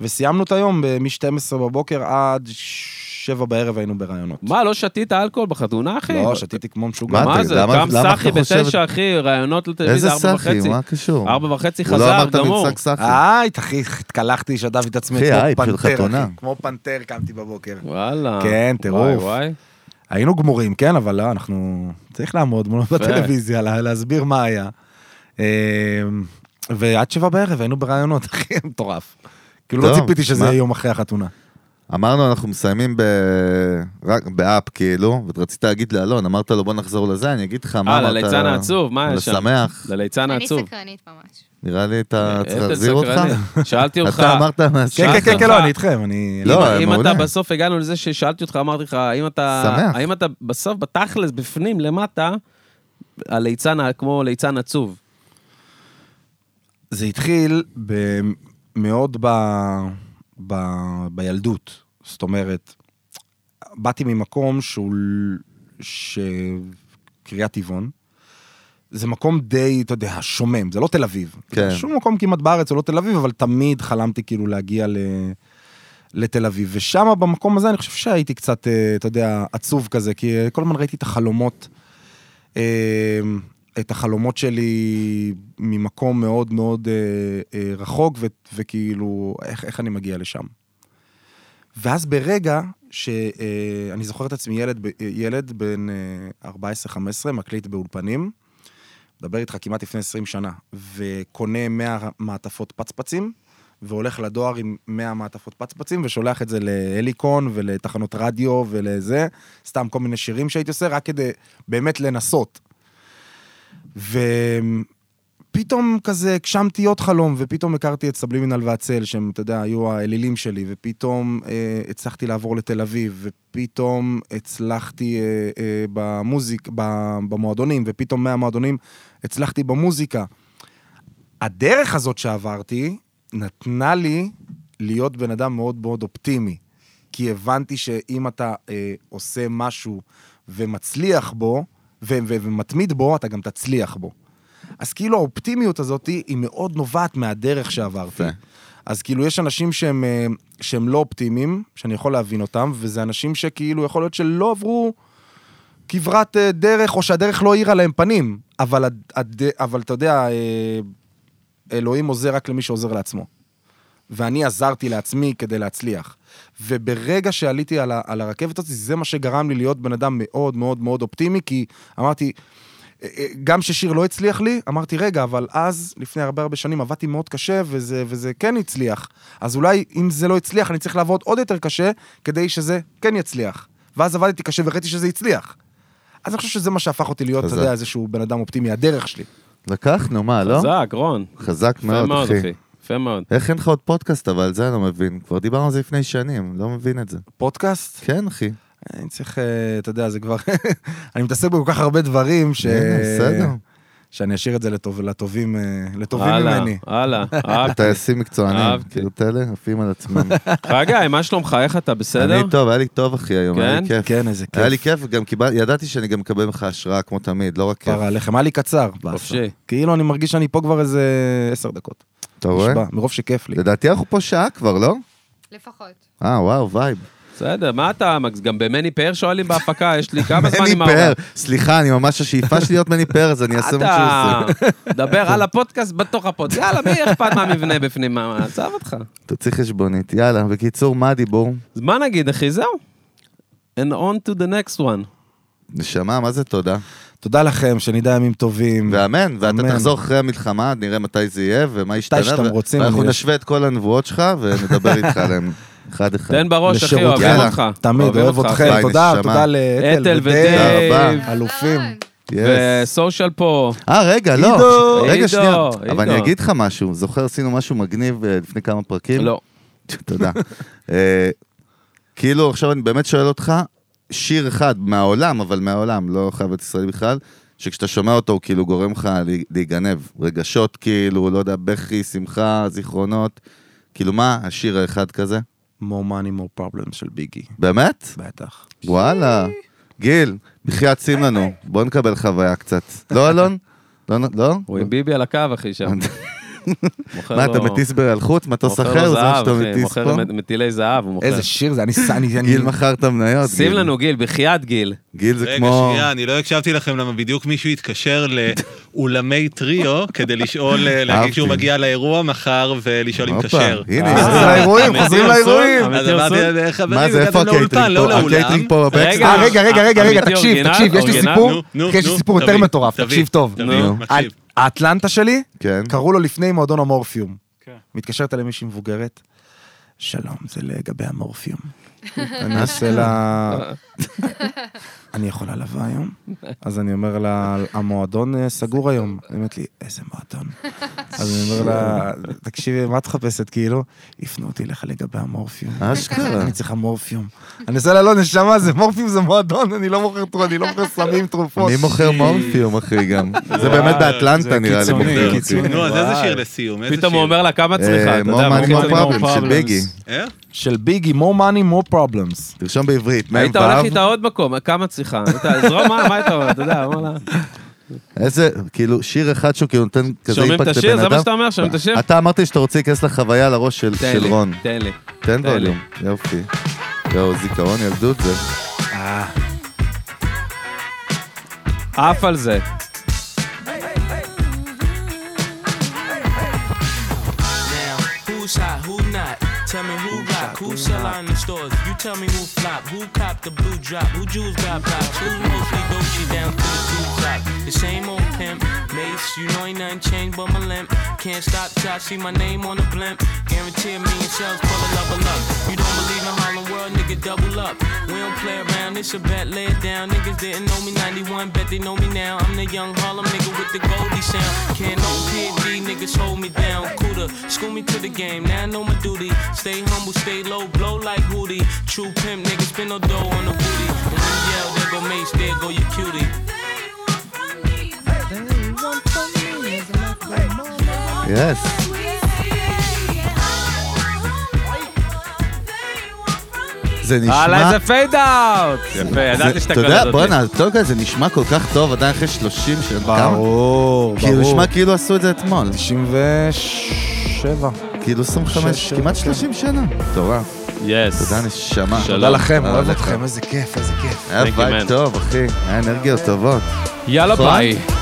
[SPEAKER 3] וסיימנו את היום ב- מ-12 בבוקר עד 7 בערב היינו ברעיונות.
[SPEAKER 2] מה, לא שתית אלכוהול בחתונה, אחי?
[SPEAKER 3] לא, שתיתי כמו משוגע.
[SPEAKER 1] מה
[SPEAKER 2] מה
[SPEAKER 1] אתה-
[SPEAKER 2] זה,
[SPEAKER 1] למה-
[SPEAKER 2] קם
[SPEAKER 1] למה
[SPEAKER 2] סאחי
[SPEAKER 1] אתה חושב-
[SPEAKER 2] בתשע, אחי, רעיונות
[SPEAKER 1] איזה
[SPEAKER 2] לטלוויזיה, ארבע
[SPEAKER 1] סאחי,
[SPEAKER 2] וחצי.
[SPEAKER 1] מה קשור?
[SPEAKER 2] ארבע וחצי
[SPEAKER 1] הוא לא
[SPEAKER 2] חזר,
[SPEAKER 1] אמר את
[SPEAKER 2] גמור. אה?
[SPEAKER 1] המצג סאחי.
[SPEAKER 3] איי, אחי, התקלחתי, שדף את עצמי
[SPEAKER 1] אחי,
[SPEAKER 3] כמו
[SPEAKER 1] הייפ של
[SPEAKER 3] פנתר,
[SPEAKER 1] חתונה.
[SPEAKER 3] אחי, כמו פנתר קמתי בבוקר.
[SPEAKER 2] וואלה.
[SPEAKER 3] כן, טירוף.
[SPEAKER 2] וואי, וואי.
[SPEAKER 3] היינו גמורים, כן, אבל לא, אנחנו... צריך לעמוד מולו בטלוויזיה, לה- להסביר מה היה. אמ, ועד שבע בערב היינו ברעיונות, אחי, מטורף. כאילו לא
[SPEAKER 1] טוב,
[SPEAKER 3] ציפיתי שזה
[SPEAKER 1] מה?
[SPEAKER 3] יהיה יום אחרי החתונה.
[SPEAKER 1] אמרנו, אנחנו מסיימים ב- רק באפ, כאילו, ורצית להגיד לאלון, אמרת לו בוא נחזור לזה, אני אגיד לך מה
[SPEAKER 2] אה,
[SPEAKER 1] אמרת.
[SPEAKER 2] לליצן העצוב, מה יש שם?
[SPEAKER 1] לשמח,
[SPEAKER 2] לליצן
[SPEAKER 6] אני
[SPEAKER 2] העצוב.
[SPEAKER 6] סקרנית ממש.
[SPEAKER 1] נראה לי אתה צריך
[SPEAKER 2] אפל
[SPEAKER 1] להחזיר אה, אותך.
[SPEAKER 2] סקרני. שאלתי אותך,
[SPEAKER 1] אתה אמרת
[SPEAKER 3] כן, כן,
[SPEAKER 1] מהסרט.
[SPEAKER 3] כן,
[SPEAKER 2] שלחתי
[SPEAKER 3] כן, לא,
[SPEAKER 2] לך.
[SPEAKER 3] אני איתכם, אני...
[SPEAKER 1] לא,
[SPEAKER 2] אם- אם
[SPEAKER 1] מעולה.
[SPEAKER 2] אתה בסוף הגענו לזה ששאלתי אותך, אמרתי לך, האם אתה...
[SPEAKER 1] שמח.
[SPEAKER 2] האם אתה בסוף, בתכלס, בפנים, למטה, הליצן, ה- כמו ליצן עצוב.
[SPEAKER 3] זה התחיל ב- מאוד ב... ב... בילדות. זאת אומרת, באתי ממקום שהוא... ל- ש... קריית טבעון. זה מקום די, אתה יודע, שומם, זה לא תל אביב.
[SPEAKER 1] כן.
[SPEAKER 3] שום מקום כמעט בארץ הוא לא תל אביב, אבל תמיד חלמתי כאילו להגיע ל... לתל אביב. ושם, במקום הזה, אני חושב שהייתי קצת, אה, אתה יודע, עצוב כזה, כי אה, כל הזמן ראיתי את החלומות, אה, את החלומות שלי ממקום מאוד מאוד אה, אה, רחוק, ו- וכאילו, איך, איך אני מגיע לשם. ואז ברגע שאני זוכר את עצמי ילד, ב- ילד בן אה, 14-15, מקליט באולפנים, מדבר איתך כמעט לפני 20 שנה, וקונה 100 מעטפות פצפצים, והולך לדואר עם 100 מעטפות פצפצים, ושולח את זה להליקון ולתחנות רדיו ולזה, סתם כל מיני שירים שהייתי עושה, רק כדי באמת לנסות. ופתאום כזה הגשמתי עוד חלום, ופתאום הכרתי את סבלימינל והצל, שהם, אתה יודע, היו האלילים שלי, ופתאום אה, הצלחתי לעבור לתל אביב, ופתאום הצלחתי אה, אה, במוזיק, ב- במועדונים, ופתאום מהמועדונים הצלחתי במוזיקה. הדרך הזאת שעברתי נתנה לי להיות בן אדם מאוד מאוד אופטימי. כי הבנתי שאם אתה אה, עושה משהו ומצליח בו, ו- ו- ומתמיד בו, אתה גם תצליח בו. אז כאילו האופטימיות הזאת היא מאוד נובעת מהדרך שעברתי.
[SPEAKER 1] יפה.
[SPEAKER 3] אז כאילו יש אנשים שהם, אה, שהם לא אופטימיים, שאני יכול להבין אותם, וזה אנשים שכאילו יכול להיות שלא עברו כברת אה, דרך, או שהדרך לא האירה להם פנים, אבל, הד, הד, אבל אתה יודע, אה, אלוהים עוזר רק למי שעוזר לעצמו. ואני עזרתי לעצמי כדי להצליח. וברגע שעליתי על, ה, על הרכבת הזאת, זה מה שגרם לי להיות בן אדם מאוד מאוד מאוד אופטימי, כי אמרתי, אה, אה, גם כששיר לא הצליח לי, אמרתי, רגע, אבל אז, לפני הרבה הרבה שנים, עבדתי מאוד קשה, וזה, וזה כן הצליח. אז אולי אם זה לא הצליח, אני צריך לעבוד עוד יותר קשה, כדי שזה כן יצליח. ואז עבדתי קשה וראיתי שזה הצליח. אז אני חושב שזה מה שהפך אותי להיות, אתה
[SPEAKER 1] חזק.
[SPEAKER 3] יודע, איזשהו בן אדם אופטימי, הדרך שלי.
[SPEAKER 1] לקחנו, מה, לא?
[SPEAKER 2] כן. חזק, רון.
[SPEAKER 1] חזק
[SPEAKER 2] יפה
[SPEAKER 1] מאוד,
[SPEAKER 2] מאוד,
[SPEAKER 1] אחי.
[SPEAKER 2] אחי. יפה מאוד.
[SPEAKER 1] איך אין לך עוד פודקאסט, אבל זה אני לא מבין. כבר דיברנו על זה לפני שנים, לא מבין את זה.
[SPEAKER 3] פודקאסט?
[SPEAKER 1] כן, אחי.
[SPEAKER 3] אני צריך, אה, אתה יודע, זה כבר... אני מתעסק בכל כך הרבה דברים, ש...
[SPEAKER 1] הנה, בסדר.
[SPEAKER 3] שאני אשאיר את זה לטוב, לטובים, אה, לטובים
[SPEAKER 2] הלאה,
[SPEAKER 3] ממני.
[SPEAKER 2] הלאה. אה, אהבתי.
[SPEAKER 1] טייסים מקצוענים,
[SPEAKER 2] אהבתי.
[SPEAKER 1] כאילו תלה, עפים על עצמם.
[SPEAKER 2] חגי, מה שלומך? איך אתה? בסדר?
[SPEAKER 1] אני טוב, היה לי טוב, אחי, היום, היה לי
[SPEAKER 2] כן?
[SPEAKER 1] כיף.
[SPEAKER 3] כן, איזה כיף.
[SPEAKER 1] היה לי כיף, וגם קיבל- ידעתי שאני גם מקבל ממך השראה, כמו תמיד, לא רק כיף.
[SPEAKER 3] פרה לחם, היה לי קצר.
[SPEAKER 2] חופשי.
[SPEAKER 3] כאילו אני מרגיש שאני פה כבר איזה עשר דקות.
[SPEAKER 1] אתה רואה?
[SPEAKER 3] נשבע, מרוב שכיף לי.
[SPEAKER 1] לדעתי אנחנו פה שעה כבר, לא?
[SPEAKER 6] לפחות.
[SPEAKER 1] אה, וואו, וייב.
[SPEAKER 2] בסדר, מה אתה, מקס? גם במני פאר שואלים בהפקה, יש לי כמה זמן
[SPEAKER 1] מני
[SPEAKER 2] עם
[SPEAKER 1] פאר,
[SPEAKER 2] העולם.
[SPEAKER 1] סליחה, אני ממש, השאיפה שלי להיות מני פאר, אז אני אעשה מה שהוא
[SPEAKER 2] אתה
[SPEAKER 1] עושה.
[SPEAKER 2] דבר על הפודקאסט בתוך הפודקאסט. יאללה, מי אכפת מהמבנה בפנים? מה, עזב אותך.
[SPEAKER 1] תוציא חשבונית, יאללה. בקיצור, מה הדיבור?
[SPEAKER 2] אז מה נגיד, אחי? זהו. And on to the next one.
[SPEAKER 1] נשמה, מה זה תודה?
[SPEAKER 3] תודה לכם, שנדע ימים טובים.
[SPEAKER 1] ואמן, ואתה
[SPEAKER 3] אמן.
[SPEAKER 1] תחזור אחרי המלחמה, נראה מתי זה יהיה ומה ישתנה.
[SPEAKER 3] שאתם
[SPEAKER 1] ו-
[SPEAKER 3] רוצים,
[SPEAKER 1] ואנחנו
[SPEAKER 3] אני-
[SPEAKER 1] נשווה את כל הנבואות שלך ונדבר איתך עליהם אחד-אחד.
[SPEAKER 2] תן בראש, אחי,
[SPEAKER 3] לשירות.
[SPEAKER 2] אוהבים
[SPEAKER 1] יאללה.
[SPEAKER 2] אותך.
[SPEAKER 3] תמיד,
[SPEAKER 2] אוהבים
[SPEAKER 3] אוהב
[SPEAKER 2] אותך,
[SPEAKER 3] אתכם.
[SPEAKER 1] ביי,
[SPEAKER 3] תודה,
[SPEAKER 1] נשמה.
[SPEAKER 3] תודה
[SPEAKER 2] אתל
[SPEAKER 3] לאתל
[SPEAKER 2] ודייב.
[SPEAKER 1] תודה רבה.
[SPEAKER 3] אלופים.
[SPEAKER 6] אהלן.
[SPEAKER 1] Yes.
[SPEAKER 2] וסושיאל פה.
[SPEAKER 1] אה, רגע, לא.
[SPEAKER 3] עידו.
[SPEAKER 1] רגע,
[SPEAKER 2] עידו,
[SPEAKER 1] שנייה.
[SPEAKER 2] עידו.
[SPEAKER 1] אבל אני אגיד לך משהו. זוכר, עשינו משהו מגניב אה, לפני כמה פרקים?
[SPEAKER 2] לא.
[SPEAKER 1] תודה. אה, כאילו, עכשיו אני באמת שואל אותך, שיר אחד מהעולם, אבל מהעולם, לא חייב להיות ישראלי בכלל, שכשאתה שומע אותו, הוא כאילו גורם לך לה- להיגנב. רגשות, כאילו, לא יודע, בכי, שמחה, זיכרונות. כאילו, מה השיר האחד כזה?
[SPEAKER 3] more money, more problems של ביגי.
[SPEAKER 1] באמת?
[SPEAKER 3] בטח.
[SPEAKER 1] וואלה. גיל, בחייאת שים לנו, בוא נקבל חוויה קצת. לא, אלון? לא, לא?
[SPEAKER 2] הוא עם ביבי על הקו, אחי, שם. מוכר
[SPEAKER 1] מה,
[SPEAKER 2] לו-
[SPEAKER 1] אתה מטיס על חוץ? מטוס
[SPEAKER 2] מוכר לו
[SPEAKER 1] אחר? זה מה
[SPEAKER 2] זהב,
[SPEAKER 1] שאתה
[SPEAKER 2] אחי,
[SPEAKER 1] מטיס
[SPEAKER 2] מוכר
[SPEAKER 1] פה?
[SPEAKER 2] מט- מטילי זהב, הוא מוכר.
[SPEAKER 3] איזה שיר זה, אני... ס- אני- אני-
[SPEAKER 1] גיל מכר את המניות.
[SPEAKER 2] שים
[SPEAKER 1] גיל.
[SPEAKER 2] לנו, גיל, בחייאת גיל.
[SPEAKER 1] גיל זה
[SPEAKER 5] רגע,
[SPEAKER 1] כמו...
[SPEAKER 5] שנייה, אני לא הקשבתי לכם למה בדיוק מישהו התקשר לאולמי טריו כדי לשאול, אה,
[SPEAKER 1] אהבתי.
[SPEAKER 5] להגיד שהוא מגיע לאירוע מחר ולאישון אם
[SPEAKER 1] הופה,
[SPEAKER 5] כשר.
[SPEAKER 1] הנה,
[SPEAKER 3] אה,
[SPEAKER 1] חוזרים לאירועים, חוזרים
[SPEAKER 2] אמיתי, אסור?
[SPEAKER 1] לאירועים.
[SPEAKER 5] אז
[SPEAKER 2] אמיתי,
[SPEAKER 5] אמרתי,
[SPEAKER 2] אסור?
[SPEAKER 5] "אה,
[SPEAKER 1] מה
[SPEAKER 5] חברים,
[SPEAKER 1] זה, איפה
[SPEAKER 5] הגעתם
[SPEAKER 1] הקייטרינג
[SPEAKER 5] לאולפן, לא
[SPEAKER 1] פה?
[SPEAKER 5] לאולם.
[SPEAKER 1] הקייטרינג פה בבקסט?
[SPEAKER 2] רגע,
[SPEAKER 3] אה, רגע, רגע, רגע, רגע,
[SPEAKER 2] אמיתי,
[SPEAKER 3] תקשיב,
[SPEAKER 2] אורגינל,
[SPEAKER 3] תקשיב, יש לי
[SPEAKER 2] אורגינל,
[SPEAKER 3] סיפור,
[SPEAKER 5] נו, נו,
[SPEAKER 3] יש לי
[SPEAKER 5] נו,
[SPEAKER 3] סיפור יותר
[SPEAKER 5] תביא,
[SPEAKER 3] מטורף,
[SPEAKER 5] תביא,
[SPEAKER 3] תקשיב טוב.
[SPEAKER 5] תביא,
[SPEAKER 2] נו.
[SPEAKER 5] מקשיב.
[SPEAKER 3] האטלנטה שלי,
[SPEAKER 1] כן.
[SPEAKER 3] קראו לו לפני מועדון המורפיום.
[SPEAKER 7] כן.
[SPEAKER 3] מתקשרת אליי מישהי מבוגרת, שלום, זה לגבי המורפיום. אני עושה לה... אני יכולה לבוא היום? אז אני אומר לה, המועדון אה, סגור היום. היא אומרת לי, איזה מועדון? אז אני אומר לה, תקשיבי, מה את מחפשת, כאילו? הפנו אותי לך לגבי המורפיום.
[SPEAKER 1] אשכרה.
[SPEAKER 3] אני צריכה מורפיום. אני עושה לה, לא, נשמה, זה מורפיום זה מועדון, אני לא מוכר תרופות, אני לא מוכר סמים, תרופות.
[SPEAKER 1] מי מוכר מורפיום, אחי, גם? זה באמת באטלנטה,
[SPEAKER 7] זה
[SPEAKER 1] נראה לי.
[SPEAKER 7] קיצוני,
[SPEAKER 1] מוכר.
[SPEAKER 7] קיצוני.
[SPEAKER 5] נו, אז איזה
[SPEAKER 2] וואי.
[SPEAKER 5] שיר לסיום? איזה
[SPEAKER 2] פתאום
[SPEAKER 5] שיר?
[SPEAKER 2] הוא אומר לה כמה צריכה,
[SPEAKER 1] אה,
[SPEAKER 2] אתה
[SPEAKER 1] more
[SPEAKER 2] יודע,
[SPEAKER 1] money,
[SPEAKER 2] מוכר
[SPEAKER 1] more
[SPEAKER 2] את
[SPEAKER 7] problem.
[SPEAKER 2] זה
[SPEAKER 1] problems של
[SPEAKER 7] problems.
[SPEAKER 1] ביגי.
[SPEAKER 5] אה?
[SPEAKER 3] של ביגי, more money, more problems.
[SPEAKER 1] תרשום בעברית, מ"ו.
[SPEAKER 2] היית הולך איתה עוד מקום, אה, כמה צריכה? אתה- זרום, מה מה היית אומר? אתה יודע, אמר לה.
[SPEAKER 1] איזה, כאילו, שיר אחד שהוא כאילו נותן כזה
[SPEAKER 2] שומעים
[SPEAKER 1] אימפקט
[SPEAKER 2] את
[SPEAKER 1] לבן אדם.
[SPEAKER 2] השיר? זה מה שאתה אומר, שומעים את השיר?
[SPEAKER 1] אתה אמרת לי שאתה רוצה להיכנס לחוויה לראש של
[SPEAKER 2] תן
[SPEAKER 1] של
[SPEAKER 2] לי,
[SPEAKER 1] רון.
[SPEAKER 2] תן לי.
[SPEAKER 1] תן
[SPEAKER 2] לי.
[SPEAKER 1] ווליום, יופי. יואו, זיכרון ילדות זה.
[SPEAKER 2] עף על זה.
[SPEAKER 9] Now, who's hot, who not? Tell me who rock, who sell out in the stores. You tell me who flop, who cop the blue drop, who jewels got pops, who mostly Gucci down to the blue drop. The same old pimp, mace, you know ain't nothing changed but my limp. Can't stop till I see my name on the blimp. Guarantee a million sales, pull a level up. You don't believe in Harlem World, nigga, double up. We don't play around, it's a bet, lay it down. Niggas didn't know me 91, bet they know me now. I'm the young Harlem nigga with the Goldie sound. Can't no PD, niggas hold me down. Cuda, school me to the game, now I know my duty. Stay humble, stay low, blow like Hootie. True pimp, niggas spin no dough on the booty. And when you yell, there go Mace, there go your cutie.
[SPEAKER 1] יס.
[SPEAKER 2] אה,
[SPEAKER 1] זה נשמע...
[SPEAKER 2] וואלה, איזה פייד אאוט. יפה, ידעתי
[SPEAKER 1] זה-
[SPEAKER 2] שאתה
[SPEAKER 1] אתה
[SPEAKER 2] קולט אותי.
[SPEAKER 1] יודע, בואנה, טוב, זה נשמע כל כך טוב, עדיין אחרי 30 שנה.
[SPEAKER 3] ברור,
[SPEAKER 1] כאילו,
[SPEAKER 3] ברור.
[SPEAKER 1] נשמע כאילו עשו את זה אתמול.
[SPEAKER 3] 97.
[SPEAKER 1] כאילו 25,
[SPEAKER 3] שש,
[SPEAKER 1] כמעט
[SPEAKER 3] כן.
[SPEAKER 1] 30 שנה. מטורף.
[SPEAKER 2] יס.
[SPEAKER 1] תודה נשמה.
[SPEAKER 2] שלום.
[SPEAKER 3] תודה לכם,
[SPEAKER 1] תודה
[SPEAKER 3] אוהב
[SPEAKER 1] לך.
[SPEAKER 3] אתכם, איזה כיף, איזה כיף.
[SPEAKER 1] היה
[SPEAKER 2] Thank you,
[SPEAKER 1] וייב
[SPEAKER 2] man.
[SPEAKER 1] טוב, אחי. היה אנרגיות טובות.
[SPEAKER 2] יאללה
[SPEAKER 1] נכון?
[SPEAKER 2] ביי.